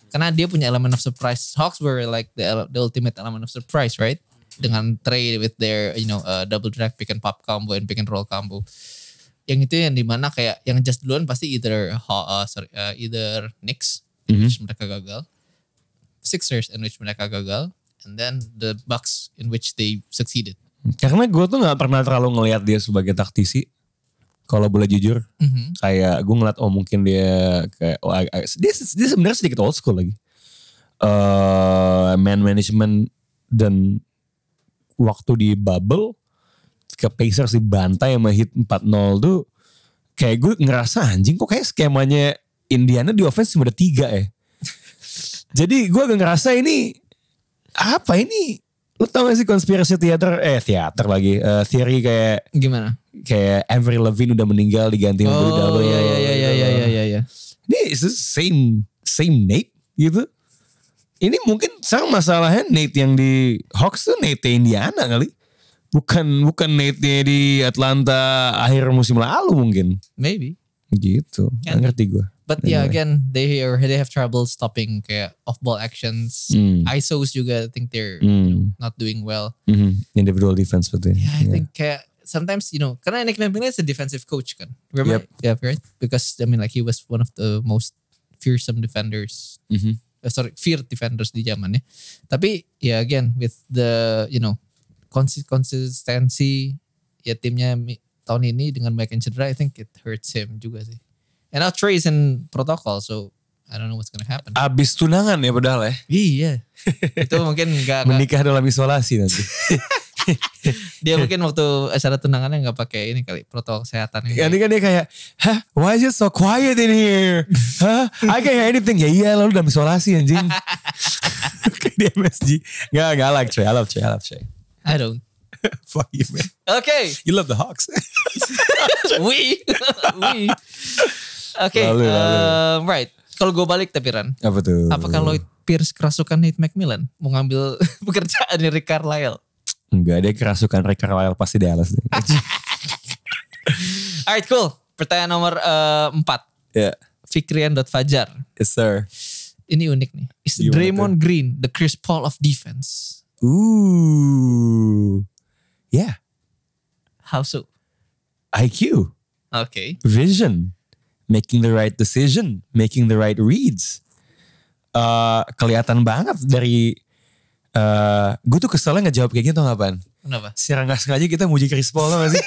[SPEAKER 3] karena dia punya elemen of surprise Hawks were like the, ele- the ultimate element of surprise right dengan Trey with their you know uh, double drag pick and pop combo and pick and roll combo yang itu yang dimana kayak yang adjust duluan pasti either Haw- uh, sorry, uh, either Knicks in which mereka gagal Sixers in which mereka gagal and then the Bucks in which they succeeded
[SPEAKER 2] Karena gue tuh nggak pernah terlalu ngelihat dia sebagai taktisi. Kalau boleh jujur,
[SPEAKER 3] Mhm.
[SPEAKER 2] kayak gue ngeliat oh mungkin dia kayak oh, ag- ag- dia, dia sebenarnya sedikit old school lagi. eh man management dan waktu di bubble ke Pacers dibantai sama hit 4-0 tuh kayak gue ngerasa anjing kok kayak skemanya Indiana di offense cuma ada tiga ya. (laughs) Jadi gue agak ngerasa ini apa ini? Lo tau gak sih konspirasi teater? Eh teater lagi. Eh teori kayak
[SPEAKER 3] gimana
[SPEAKER 2] kayak Avery Levine udah meninggal diganti sama Blue
[SPEAKER 3] Oh
[SPEAKER 2] Double.
[SPEAKER 3] ya ya ya ya ya ya ya.
[SPEAKER 2] Ini is the same same Nate gitu. Ini mungkin sama masalahnya Nate yang di Hawks tuh Nate Indiana kali. Bukan bukan Nate di Atlanta akhir musim lalu mungkin.
[SPEAKER 3] maybe.
[SPEAKER 2] Gitu. Nggak
[SPEAKER 3] Kan.
[SPEAKER 2] ngerti gue.
[SPEAKER 3] But yeah,
[SPEAKER 2] Anyway.
[SPEAKER 3] again, they are, they have trouble stopping kayak off ball actions.
[SPEAKER 2] Hmm.
[SPEAKER 3] ISOs juga, I think they're
[SPEAKER 2] Hmm.
[SPEAKER 3] not doing well.
[SPEAKER 2] Mhm. Individual defense Iya. seperti
[SPEAKER 3] Yeah, I think kayak sometimes you know karena Nick Nembele is a defensive coach kan. Remember? Yeah, right. Because I mean like he was one of the most fearsome defenders.
[SPEAKER 2] Mhm.
[SPEAKER 3] Uh, sorry, fear defenders di zamannya. Tapi ya again with the you know consi- konsistensi ya timnya mi- tahun ini dengan Mike and cedera, I think it hurts him juga sih. And now Trey is in protocol, so I don't know what's gonna happen.
[SPEAKER 2] Abis tunangan ya padahal ya.
[SPEAKER 3] Ah. Iya, itu mungkin gak, gak-
[SPEAKER 2] Menikah dalam isolasi nanti.
[SPEAKER 3] dia mungkin waktu acara tunangannya nggak pakai ini kali protokol kesehatan. yang
[SPEAKER 2] Nanti kan dia kayak, Hah, why is it so quiet in here? (laughs) Hah, I can't hear anything. Ya iya, lalu dalam isolasi (laughs) anjing. Kayak di MSG. Gak, gak, I like Trey, I love Trey, I love Trey.
[SPEAKER 3] I don't.
[SPEAKER 2] Fuck you, man.
[SPEAKER 3] Okay,
[SPEAKER 2] You love the Hawks.
[SPEAKER 3] (laughs) we, (laughs) we. Okay,
[SPEAKER 2] Lalu, lalu.
[SPEAKER 3] um, right. Kalau gue balik tapi Ran,
[SPEAKER 2] (laughs) Apa tuh?
[SPEAKER 3] apakah Lloyd Pierce kerasukan Nate McMillan mau ngambil (laughs) pekerjaan dari Carlisle?
[SPEAKER 2] Enggak, dia kerasukan Rick Carlisle pasti Dallas. deh.
[SPEAKER 3] Alright, cool. Pertanyaan nomor eh, empat.
[SPEAKER 2] Ya,
[SPEAKER 3] Fikrian.fajar.
[SPEAKER 2] yes sir.
[SPEAKER 3] Ini unik nih. Is
[SPEAKER 2] Gimana tuh?
[SPEAKER 3] Draymond Green the Chris Paul of defense?
[SPEAKER 2] Ooh. Yeah,
[SPEAKER 3] How so?
[SPEAKER 2] IQ,
[SPEAKER 3] Okay.
[SPEAKER 2] vision, making the right decision, making the right reads. Eh, kelihatan banget dari eh gue tuh keselnya ngejawab kayak gitu tau nggak, apaan?
[SPEAKER 3] Kenapa? (laughs)
[SPEAKER 2] Secara nggak sengaja kita muji Chris Paul tau nggak sih?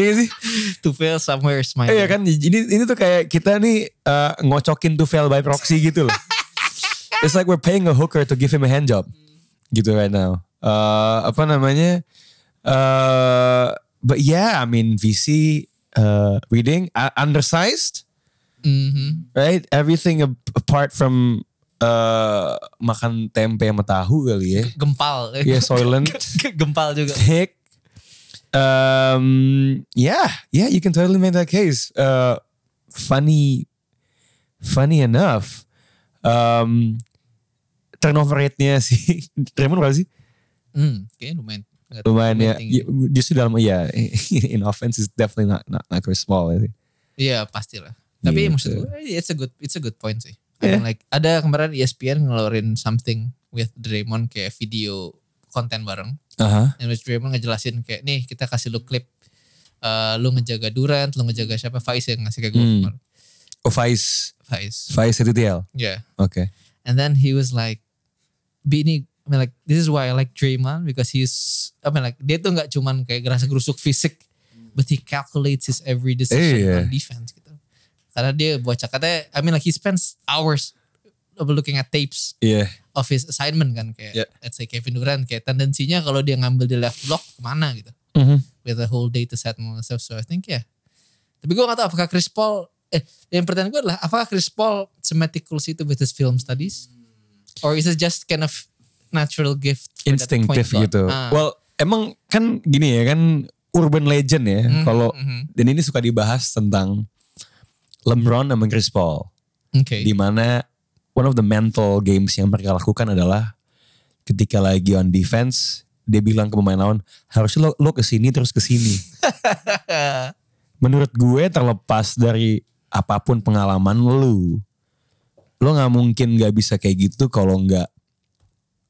[SPEAKER 2] Iya nggak sih?
[SPEAKER 3] To fail somewhere is my
[SPEAKER 2] Eh, Iya kan ini ini tuh kayak kita nih eh, ngocokin to fail by proxy gitu loh. It's like we're paying a hooker to give him a hand job gitu right now. Eh, apa namanya? Eh, but yeah, I mean VC eh, reading uh, undersized,
[SPEAKER 3] Mhm.
[SPEAKER 2] right? Everything ab- apart from eh, makan tempe sama tahu kali ya.
[SPEAKER 3] Gempal.
[SPEAKER 2] Yeah, soylent.
[SPEAKER 3] (laughs) Gempal juga.
[SPEAKER 2] Thick. Um, yeah, yeah, you can totally make that case. Uh, funny, funny enough. Um, turnover rate-nya (laughs) sih, Draymond berapa sih?
[SPEAKER 3] Hmm, kayaknya lumayan. Nggak tahu,
[SPEAKER 2] Lumayan ya,
[SPEAKER 3] tinggi.
[SPEAKER 2] ya, justru dalam, ya, (laughs) in offense is definitely not, not, not Chris Paul. I think.
[SPEAKER 3] Iya pastilah. Tapi
[SPEAKER 2] Gitu.
[SPEAKER 3] maksud gue, it's a good, it's a good point sih.
[SPEAKER 2] Yeah.
[SPEAKER 3] I mean, like ada kemarin E ESPN ngeluarin something with Draymond kayak video konten bareng.
[SPEAKER 2] Uh-huh.
[SPEAKER 3] And which Draymond ngejelasin kayak nih kita kasih lu klip, eh, lu ngejaga Durant, lu ngejaga siapa Faiz yang ngasih ke gue
[SPEAKER 2] Hmm.
[SPEAKER 3] kemarin.
[SPEAKER 2] Oh, Vice,
[SPEAKER 3] Faiz.
[SPEAKER 2] Vice TTL.
[SPEAKER 3] Yeah.
[SPEAKER 2] Oke.
[SPEAKER 3] And then he was like, Bini, I mean, like this is why I like Draymond because he's, I mean like dia tuh nggak cuman kayak gerasa gerusuk fisik, but he calculates his every decision
[SPEAKER 2] Iya.
[SPEAKER 3] on defense gitu. Karena dia bocah katanya, I mean like he spends hours of looking at tapes
[SPEAKER 2] Iya.
[SPEAKER 3] of his assignment kan kayak,
[SPEAKER 2] Iya.
[SPEAKER 3] let's say Kevin Durant kayak tendensinya kalau dia ngambil di left block kemana gitu,
[SPEAKER 2] Mhm.
[SPEAKER 3] with the whole data set and all that stuff. So I think yeah. Tapi gue gak tahu apakah Chris Paul, eh yang pertanyaan gue adalah apakah Chris Paul semetical itu with his film studies? Or is it just kind of natural gift? for that point
[SPEAKER 2] Instinctive
[SPEAKER 3] guard?
[SPEAKER 2] gitu.
[SPEAKER 3] Ah.
[SPEAKER 2] Well, emang kan gini ya kan urban legend ya.
[SPEAKER 3] Mhm,
[SPEAKER 2] Kalau
[SPEAKER 3] mhm.
[SPEAKER 2] dan ini suka dibahas tentang LeBron sama Chris Paul
[SPEAKER 3] Okay.
[SPEAKER 2] di mana one of the mental games yang mereka lakukan adalah ketika lagi on defense dia bilang ke pemain lawan harusnya lo, lo kesini terus kesini
[SPEAKER 3] Uh,
[SPEAKER 2] menurut gue terlepas dari apapun pengalaman lu lo nggak mungkin nggak bisa kayak gitu kalau nggak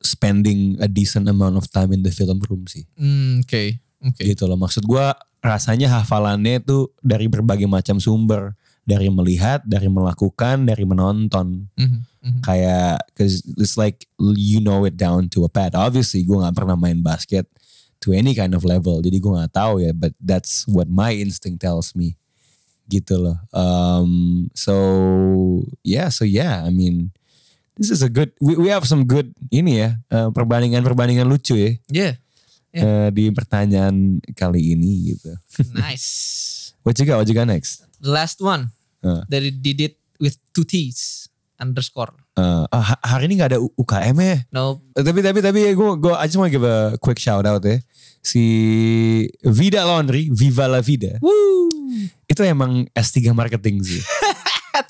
[SPEAKER 2] spending a decent amount of time in the film room sih
[SPEAKER 3] Hmm, Oke. Oke.
[SPEAKER 2] gitu loh maksud gua rasanya hafalannya itu dari berbagai macam sumber dari melihat dari melakukan dari menonton
[SPEAKER 3] Mhm, mhm.
[SPEAKER 2] kayak cause it's like you know it down to a pad obviously gua nggak pernah main basket to any kind of level jadi gua nggak tahu ya but that's what my instinct tells me gitu loh um, so yeah so yeah I mean this is a good we, we have some good ini ya perbandingan perbandingan lucu ya
[SPEAKER 3] Yeah. (laughs)
[SPEAKER 2] eh, di pertanyaan kali ini gitu.
[SPEAKER 3] Nice.
[SPEAKER 2] What you got? What you got next?
[SPEAKER 3] The last one
[SPEAKER 2] Ah.
[SPEAKER 3] dari did it with two T's underscore.
[SPEAKER 2] Eh, ah, ha- hari ini nggak ada U- UKM ya?
[SPEAKER 3] No.
[SPEAKER 2] Eh, Tapi tapi tapi gue gue I just want give a quick shout out ya. Si Vida Laundry, Viva La Vida.
[SPEAKER 3] Woo.
[SPEAKER 2] Itu emang S3 marketing sih.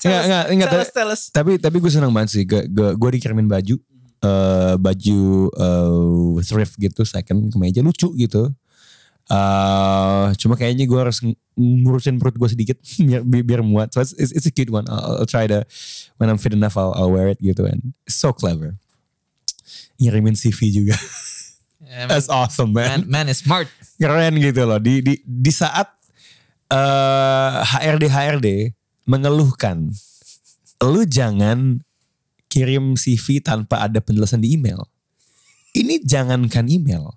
[SPEAKER 3] tell
[SPEAKER 2] Nggak,
[SPEAKER 3] us,
[SPEAKER 2] nggak, nggak,
[SPEAKER 3] tell
[SPEAKER 2] tapi-
[SPEAKER 3] us, tell us.
[SPEAKER 2] Tapi tapi gue seneng banget sih. Gue gue, gue dikirimin baju eh baju eh, thrift gitu second kemeja lucu gitu. eh cuma kayaknya gue harus ng- ngurusin perut gue sedikit (laughs) biar, bi- biar muat. So it's, it's, it's a cute one. I'll, I'll try to when I'm fit enough I'll, I'll wear it gitu and it's so clever. Ngirimin CV juga.
[SPEAKER 3] Yeah,
[SPEAKER 2] That's awesome
[SPEAKER 3] man,
[SPEAKER 2] man.
[SPEAKER 3] man is smart.
[SPEAKER 2] Keren gitu loh. Di di di saat eh HRD HRD mengeluhkan lu jangan kirim CV tanpa ada penjelasan di email. Ini jangankan email.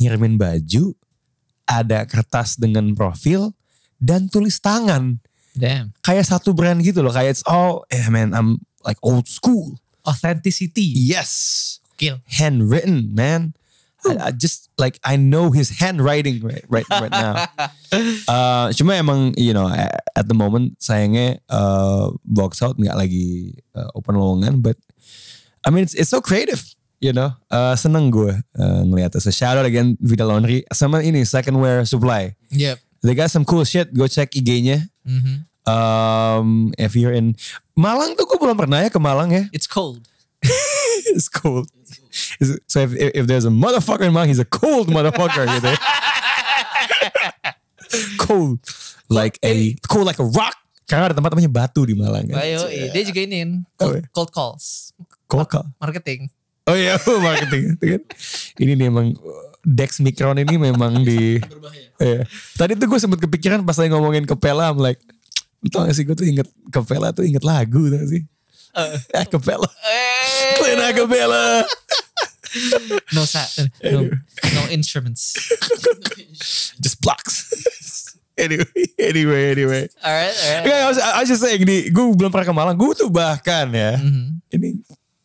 [SPEAKER 2] Ngirimin baju, ada kertas dengan profil, dan tulis tangan.
[SPEAKER 3] Damn.
[SPEAKER 2] Kayak satu brand gitu loh. Kayak it's all, eh man, I'm like old school.
[SPEAKER 3] Authenticity.
[SPEAKER 2] Yes.
[SPEAKER 3] Gokil.
[SPEAKER 2] Handwritten, man. I, I just like, I know his handwriting right, right, right now. Uh, cuma emang you know a- at the moment sayangnya uh, box out nggak lagi uh, open lowongan but I mean it's, it's so creative you know Uh, seneng gue uh, ngeliatnya so shout out again Vida Laundry sama ini second wear supply
[SPEAKER 3] Yep.
[SPEAKER 2] they got some cool shit go check IG-nya
[SPEAKER 3] Mhm.
[SPEAKER 2] um, if you're in Malang tuh gue belum pernah ya ke Malang ya
[SPEAKER 3] It's cold.
[SPEAKER 2] (laughs) it's cold so if, if, if there's a motherfucker in Malang he's a cold motherfucker gitu ya. cold like a cold like a rock karena ada tempat namanya batu di Malang kan.
[SPEAKER 3] Ayo, dia juga ini kan,
[SPEAKER 2] Oh,
[SPEAKER 3] cold,
[SPEAKER 2] iya.
[SPEAKER 3] cold calls,
[SPEAKER 2] Kolka.
[SPEAKER 3] marketing.
[SPEAKER 2] Oh (laughs) iya, marketing itu kan. Ini nih emang uh, Dex Micron ini memang di Iya. Tadi tuh gue sempet kepikiran pas lagi ngomongin Kepela I'm like "Lu Tau gak sih gue tuh inget Kepela tuh inget lagu tau gak sih Eh Kepela Lena Kepela
[SPEAKER 3] Eh. No sa, eh, no, no instruments.
[SPEAKER 2] Just blocks (laughs) Anyway Anyway Anyway
[SPEAKER 3] Alright, alright.
[SPEAKER 2] Nggak, I was, I was just saying nih, gue belum pernah ke Malang. Gue tuh bahkan ya, ini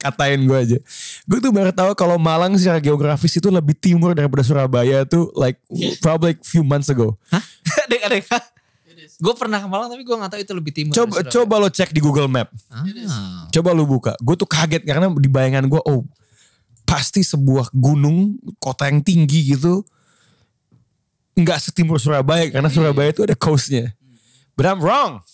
[SPEAKER 2] katain gue aja. Gue tuh baru tahu kalau Malang secara geografis itu lebih timur daripada Surabaya tuh like probably like few months ago.
[SPEAKER 3] adek, adek. Gue pernah ke Malang tapi gue gak tahu itu lebih timur.
[SPEAKER 2] Coba
[SPEAKER 3] dari Surabaya.
[SPEAKER 2] coba lo cek di Google Map.
[SPEAKER 3] Ah.
[SPEAKER 2] Coba lo buka. Gue tuh kaget karena di bayangan gue oh pasti sebuah gunung kota yang tinggi gitu nggak setimur Surabaya karena Surabaya itu ada coastnya. But I'm wrong.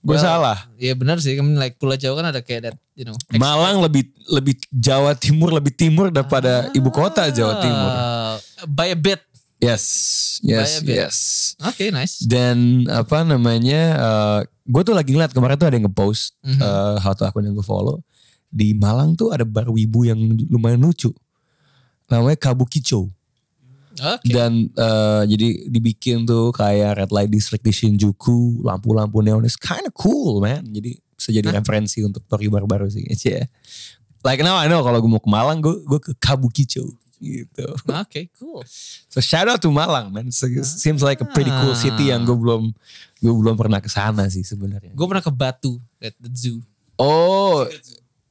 [SPEAKER 2] Gue
[SPEAKER 3] Well,
[SPEAKER 2] salah.
[SPEAKER 3] Iya benar sih, kan like Pulau Jawa kan ada kayak that, you know. ex-
[SPEAKER 2] Malang lebih lebih Jawa Timur lebih timur daripada ibu kota Jawa Timur.
[SPEAKER 3] Ah, by a bit.
[SPEAKER 2] Yes, yes,
[SPEAKER 3] Bayar biar.
[SPEAKER 2] yes.
[SPEAKER 3] Oke, nice.
[SPEAKER 2] Dan apa namanya? gue tuh lagi ngeliat kemarin tuh ada yang ngepost
[SPEAKER 3] Mhm.
[SPEAKER 2] eh, satu akun yang gue follow di Malang tuh ada bar wibu yang lumayan lucu. Namanya Kabukicho
[SPEAKER 3] Oke.
[SPEAKER 2] dan eh, jadi dibikin tuh kayak red light district di Shinjuku, lampu-lampu neon is kind of cool man. Jadi bisa jadi referensi untuk pergi baru-baru sih. (laughs) Yeah. Like now I know kalau gue mau ke Malang gue gue ke Kabukicho gitu.
[SPEAKER 3] Oke, cool.
[SPEAKER 2] So shout out to Malang man. So, it seems like a pretty cool city yang gue belum gue belum pernah ke sana sih sebenarnya.
[SPEAKER 3] Gue pernah ke Batu, at the zoo.
[SPEAKER 2] Oh,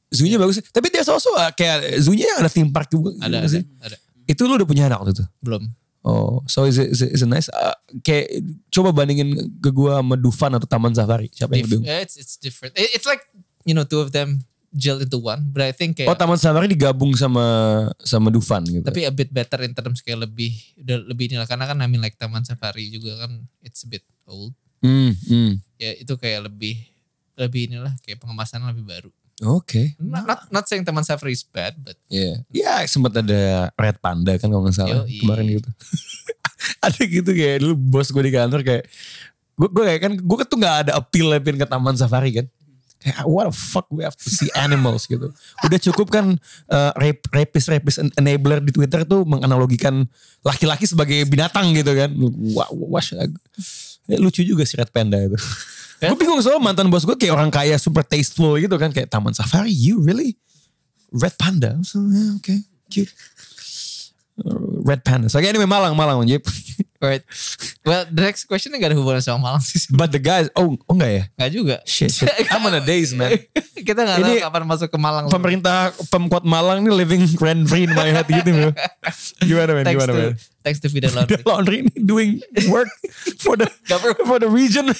[SPEAKER 2] zoonya bagus. Tapi dia also uh, kayak zoonya yang ada theme park juga. gitu
[SPEAKER 3] Ada, ada,
[SPEAKER 2] sih.
[SPEAKER 3] ada.
[SPEAKER 2] Itu lu udah punya anak waktu itu?
[SPEAKER 3] Belum.
[SPEAKER 2] Oh, so is it, is it, is it nice? Uh, kayak coba bandingin ke gua sama Dufan atau Taman Safari. Siapa yang
[SPEAKER 3] Dif-
[SPEAKER 2] lebih?
[SPEAKER 3] eh, it's it's different. It- it's like you know two of them gel into one, but I think
[SPEAKER 2] Oh,
[SPEAKER 3] kayak
[SPEAKER 2] Taman Safari digabung sama sama Dufan gitu.
[SPEAKER 3] tapi a bit better in terms kayak lebih udah lebih inilah karena kan I mean like Taman Safari juga kan it's a bit old.
[SPEAKER 2] Hmm, hmm.
[SPEAKER 3] Ya itu kayak lebih lebih inilah kayak pengemasan lebih baru.
[SPEAKER 2] Oke.
[SPEAKER 3] Not not, not saying Taman Safari is bad, but
[SPEAKER 2] Ya, ya sempat ada Red Panda kan kalau nggak salah
[SPEAKER 3] Yoi.
[SPEAKER 2] kemarin gitu. (laughs) ada gitu kayak dulu bos gue di kantor kayak gue gue kayak kan gue tuh nggak ada appeal pin ke taman safari kan. Kayak what the fuck we have to see animals gitu. Udah cukup kan eh, rap, rapist rapist en- enabler di Twitter tuh menganalogikan laki-laki sebagai binatang gitu kan. Wah, wah, wah, eh, lucu juga si Red Panda itu. gue bingung soal mantan bos gue kayak orang kaya super tasteful gitu kan kayak taman safari you really Red Panda. So, yeah, okay, cute. Uh, Red Panda. So, okay, anyway, Malang, Malang. Yep. (laughs)
[SPEAKER 3] right. Well, the next question gak ada hubungan sama Malang sih. (laughs)
[SPEAKER 2] But the guys, oh, oh enggak ya?
[SPEAKER 3] Gak juga.
[SPEAKER 2] Shit, (laughs)
[SPEAKER 3] (laughs)
[SPEAKER 2] shit. I'm on a daze, man.
[SPEAKER 3] Kita gak tahu
[SPEAKER 2] Ini-
[SPEAKER 3] kapan masuk ke Malang.
[SPEAKER 2] Pemerintah pemkot Malang ini living rent free in my head gitu. Bro. Gimana, man?
[SPEAKER 3] thanks
[SPEAKER 2] Gimana,
[SPEAKER 3] to
[SPEAKER 2] man?
[SPEAKER 3] thanks to Fidel
[SPEAKER 2] (laughs) The
[SPEAKER 3] Laundry.
[SPEAKER 2] (laughs) laundry ini doing work for the for the region. (laughs) man.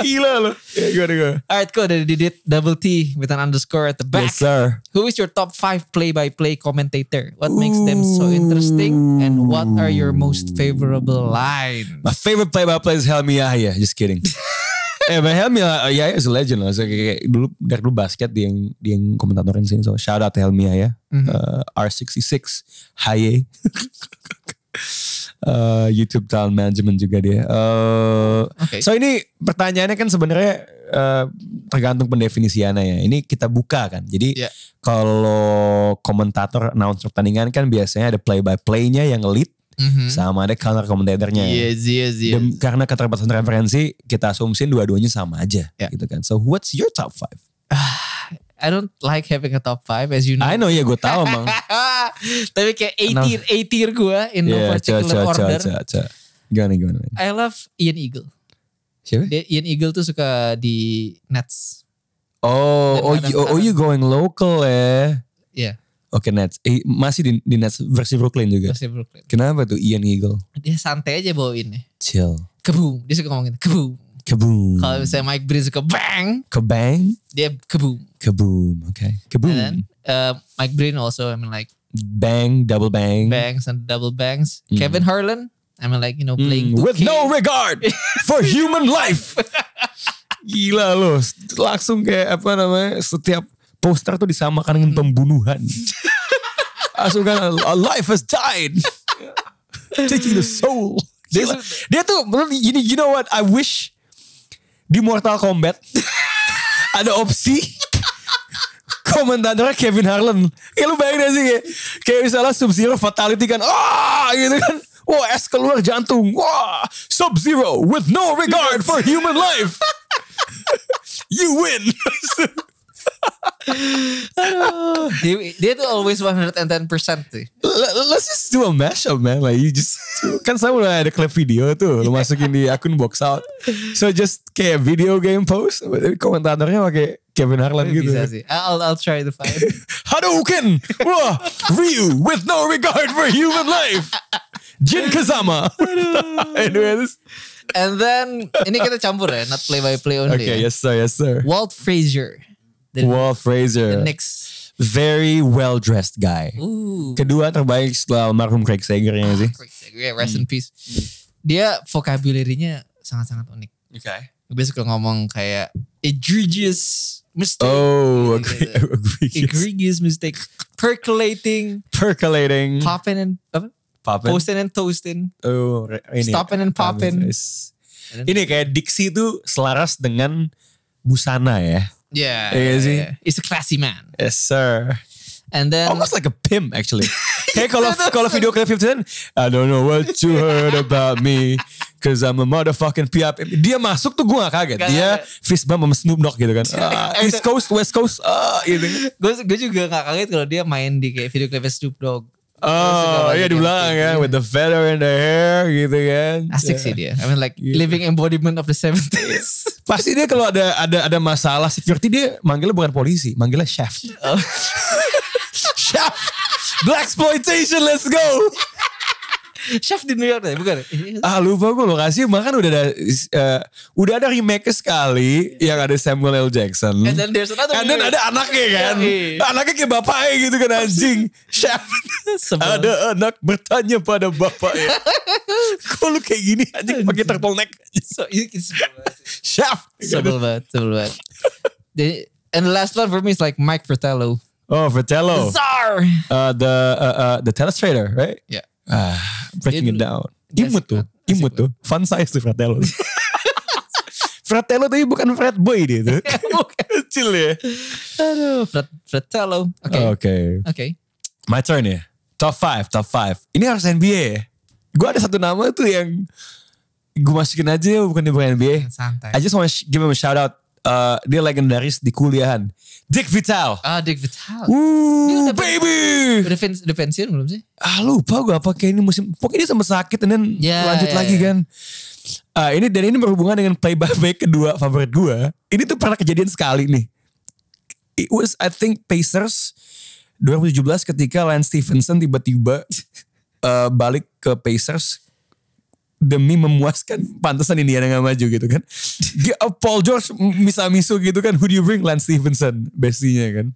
[SPEAKER 2] Gila loh. Ya, gimana, gimana?
[SPEAKER 3] Alright, cool. Dari Didit double T with an underscore at the back.
[SPEAKER 2] Yes, sir.
[SPEAKER 3] Who is your top five play-by-play commentator? What makes them so interesting? And what are your most favorable lines?
[SPEAKER 2] My favorite play-by-play is Helmi Yahya. Just kidding. eh Helmi ya, ya is a legend lah. So, kayak, kayak dulu dari dulu basket dia yang dia yang komentatorin sini. So shout out to Helmi ya.
[SPEAKER 3] Mhm.
[SPEAKER 2] Uh, R66 Haye. (laughs) Uh, YouTube Talent Management juga dia. Uh,
[SPEAKER 3] Oke.
[SPEAKER 2] So ini pertanyaannya kan sebenarnya uh, tergantung pendefinisiannya ya. Ini kita buka kan. Jadi
[SPEAKER 3] Iya.
[SPEAKER 2] kalau komentator announcer pertandingan kan biasanya ada play by playnya yang lead
[SPEAKER 3] Mhm.
[SPEAKER 2] sama ada color commentatornya. ya.
[SPEAKER 3] Yes, yes, yes.
[SPEAKER 2] Dem- karena keterbatasan referensi kita asumsiin dua-duanya sama aja
[SPEAKER 3] Ya.
[SPEAKER 2] gitu kan. So what's your top five?
[SPEAKER 3] I don't like having a top five as you know.
[SPEAKER 2] I know ya gue tahu emang.
[SPEAKER 3] (laughs) Tapi kayak A tier, A tier gue in no
[SPEAKER 2] Iya,
[SPEAKER 3] particular
[SPEAKER 2] coba, coba,
[SPEAKER 3] order.
[SPEAKER 2] coba, coba. Gimana gimana?
[SPEAKER 3] I love Ian Eagle.
[SPEAKER 2] Siapa?
[SPEAKER 3] Dia, Ian Eagle tuh suka di Nets.
[SPEAKER 2] Oh,
[SPEAKER 3] Dan
[SPEAKER 2] oh,
[SPEAKER 3] kadang-
[SPEAKER 2] you- oh, you going local eh.
[SPEAKER 3] Iya,
[SPEAKER 2] Oke Nets, Eh, masih di, di Nets versi Brooklyn juga.
[SPEAKER 3] versi Brooklyn.
[SPEAKER 2] Kenapa tuh Ian Eagle?
[SPEAKER 3] Dia santai aja bawainnya.
[SPEAKER 2] Chill,
[SPEAKER 3] Keboom. Dia suka ngomongin keboom.
[SPEAKER 2] kaboom,
[SPEAKER 3] Kalau misalnya Mike Breen suka bang,
[SPEAKER 2] kebang,
[SPEAKER 3] dia keboom.
[SPEAKER 2] kaboom, oke,
[SPEAKER 3] And then
[SPEAKER 2] kaboom,
[SPEAKER 3] uh, Mike Breen also, I mean like
[SPEAKER 2] bang, double bang,
[SPEAKER 3] bangs and double bangs.
[SPEAKER 2] Hmm.
[SPEAKER 3] Kevin Harlan, I mean like you know
[SPEAKER 2] Hmm,
[SPEAKER 3] playing
[SPEAKER 2] with
[SPEAKER 3] 2K.
[SPEAKER 2] no regard for human life. Gila loh, langsung kayak apa namanya setiap poster tuh disamakan dengan pembunuhan. Langsung kan, a life has died, taking the soul. Dia, dia tuh, menurut- you, know- you know what? I wish di Mortal Kombat (laughs) ada opsi komentatornya Kevin Harlan. Ya lu bayangin gak sih kayak, kayak misalnya Sub-Zero fatality kan. Wah gitu kan. Wah es keluar jantung. Wah Sub-Zero with no regard for human life. (laughs) you win.
[SPEAKER 3] dia, dia tuh always 110% sih.
[SPEAKER 2] L- Let's just do a mashup man. Like you just. (laughs) Kan saya udah ada clip video tuh. Lu masukin di akun box out. So just kayak video game post. Komentatornya pakai Kevin Harlan gitu.
[SPEAKER 3] Bisa sih. I'll, I'll try to find.
[SPEAKER 2] (laughs) Hadouken! Wah, Ryu with no regard for human life! Jin Kazama! Anyways.
[SPEAKER 3] And then ini kita campur ya, not play by play only.
[SPEAKER 2] Okay,
[SPEAKER 3] ya.
[SPEAKER 2] yes sir, yes sir.
[SPEAKER 3] Walt Frazier, eh? the,
[SPEAKER 2] Walt
[SPEAKER 3] the
[SPEAKER 2] Fraser.
[SPEAKER 3] next.
[SPEAKER 2] Very well dressed guy.
[SPEAKER 3] Ooh, Ah,
[SPEAKER 2] Kedua terbaik setelah almarhum Craig Sager ya nggak sih.
[SPEAKER 3] yeah, rest
[SPEAKER 2] Mm-hmm.
[SPEAKER 3] in peace. Dia vocabulary-nya sangat-sangat unik. Dia suka ngomong kayak egregious mistake.
[SPEAKER 2] Oh, agree,
[SPEAKER 3] Gitu.
[SPEAKER 2] (laughs) agree. yes.
[SPEAKER 3] Egregious mistake. Percolating,
[SPEAKER 2] Percolating.
[SPEAKER 3] popping and apa?
[SPEAKER 2] Poppin'.
[SPEAKER 3] Posting and toasting.
[SPEAKER 2] Oh, re- ini.
[SPEAKER 3] Stoppin' and poppin'.
[SPEAKER 2] Yes. Ini kayak diksi itu selaras dengan busana ya. Iya
[SPEAKER 3] Yeah. yeah,
[SPEAKER 2] sih? Oh,
[SPEAKER 3] yeah. He's a classy man.
[SPEAKER 2] Yes sir.
[SPEAKER 3] And then
[SPEAKER 2] Almost like a pimp
[SPEAKER 3] (laughs)
[SPEAKER 2] actually. Kayak kalau kalau video klip 50 I don't know what you heard about me. Cause I'm a motherfucking PIP. Dia masuk tuh gue gak kaget.
[SPEAKER 3] Gak
[SPEAKER 2] Dia
[SPEAKER 3] kaget.
[SPEAKER 2] fist bump sama Snoop Dogg
[SPEAKER 3] (laughs)
[SPEAKER 2] gitu kan. Ah, East Coast, West Coast. ah, gitu.
[SPEAKER 3] gue gue juga gak kaget kalau dia main di kayak video klipnya Snoop Dogg.
[SPEAKER 2] Oh iya di
[SPEAKER 3] gitu.
[SPEAKER 2] belakang kan. With the feather in the hair gitu kan.
[SPEAKER 3] Asik sih dia. I mean like
[SPEAKER 2] Iya.
[SPEAKER 3] living embodiment of the 70s.
[SPEAKER 2] Pasti dia kalau ada ada ada masalah security dia manggilnya bukan polisi. Manggilnya chef.
[SPEAKER 3] Oh.
[SPEAKER 2] (laughs) chef. Black exploitation, let's go. Iya.
[SPEAKER 3] (laughs) Chef di New York deh, bukan?
[SPEAKER 2] Ah lupa gue lokasi bahkan kan udah ada eh, udah ada remake sekali yang ada Samuel L. Jackson.
[SPEAKER 3] And then there's another
[SPEAKER 2] And then
[SPEAKER 3] remake.
[SPEAKER 2] ada anaknya kan.
[SPEAKER 3] ya. Yoi.
[SPEAKER 2] Anaknya kayak bapaknya gitu kan anjing. Chef.
[SPEAKER 3] (laughs) Sebel.
[SPEAKER 2] ada anak bertanya pada bapaknya.
[SPEAKER 3] (laughs)
[SPEAKER 2] Kok lu kayak gini anjing pakai turtle neck.
[SPEAKER 3] So, it's sebel banget sih.
[SPEAKER 2] Chef.
[SPEAKER 3] Sebel banget, sebel banget. Jadi, and the last one for me is like Mike Fratello.
[SPEAKER 2] Oh Fratello. (laughs)
[SPEAKER 3] Czar!
[SPEAKER 2] Uh, the uh, uh, the telestrator right?
[SPEAKER 3] Yeah.
[SPEAKER 2] Ah, breaking
[SPEAKER 3] Ya. Dia
[SPEAKER 2] it down. Imut
[SPEAKER 3] dulu- dia asik
[SPEAKER 2] tuh,
[SPEAKER 3] banget, asik
[SPEAKER 2] imut tuh. Fun size tuh
[SPEAKER 3] (laughs)
[SPEAKER 2] Fratello. Fratello tapi bukan Fred Boy dia tuh. Kecil ya. Oh.
[SPEAKER 3] Aduh, Frat- Fratello. (laughs) Oke,
[SPEAKER 2] Oke.
[SPEAKER 3] oke.
[SPEAKER 2] My turn ya. Top 5, top 5. Ini harus NBA ya. Gue ada satu nama tuh yang gue masukin aja ya, bukan di bukan NBA.
[SPEAKER 3] Santai.
[SPEAKER 2] I just want to give him a shout out. Uh, dia legendaris di kuliahan. Dick Vital.
[SPEAKER 3] Ah, Dick Vitale.
[SPEAKER 2] Woo,
[SPEAKER 3] udah-
[SPEAKER 2] baby.
[SPEAKER 3] Udah, pen- udah pensiun belum sih?
[SPEAKER 2] Ah lupa gue apa kayak ini musim. Pokoknya dia sempat sakit and then
[SPEAKER 3] Ya,
[SPEAKER 2] lanjut
[SPEAKER 3] ya,
[SPEAKER 2] lagi
[SPEAKER 3] ya.
[SPEAKER 2] kan. Ah, ini dan ini berhubungan dengan play by play (laughs) kedua favorit gue. Ini tuh pernah kejadian sekali nih. It was I think Pacers 2017 ketika Lance Stevenson
[SPEAKER 3] (laughs)
[SPEAKER 2] tiba-tiba eh, balik ke Pacers demi memuaskan pantesan Indiana nggak maju gitu
[SPEAKER 3] (laughs)
[SPEAKER 2] kan. Dia- eh, Paul George misa-misu gitu kan. Who do you bring? Lance Stevenson bestinya kan.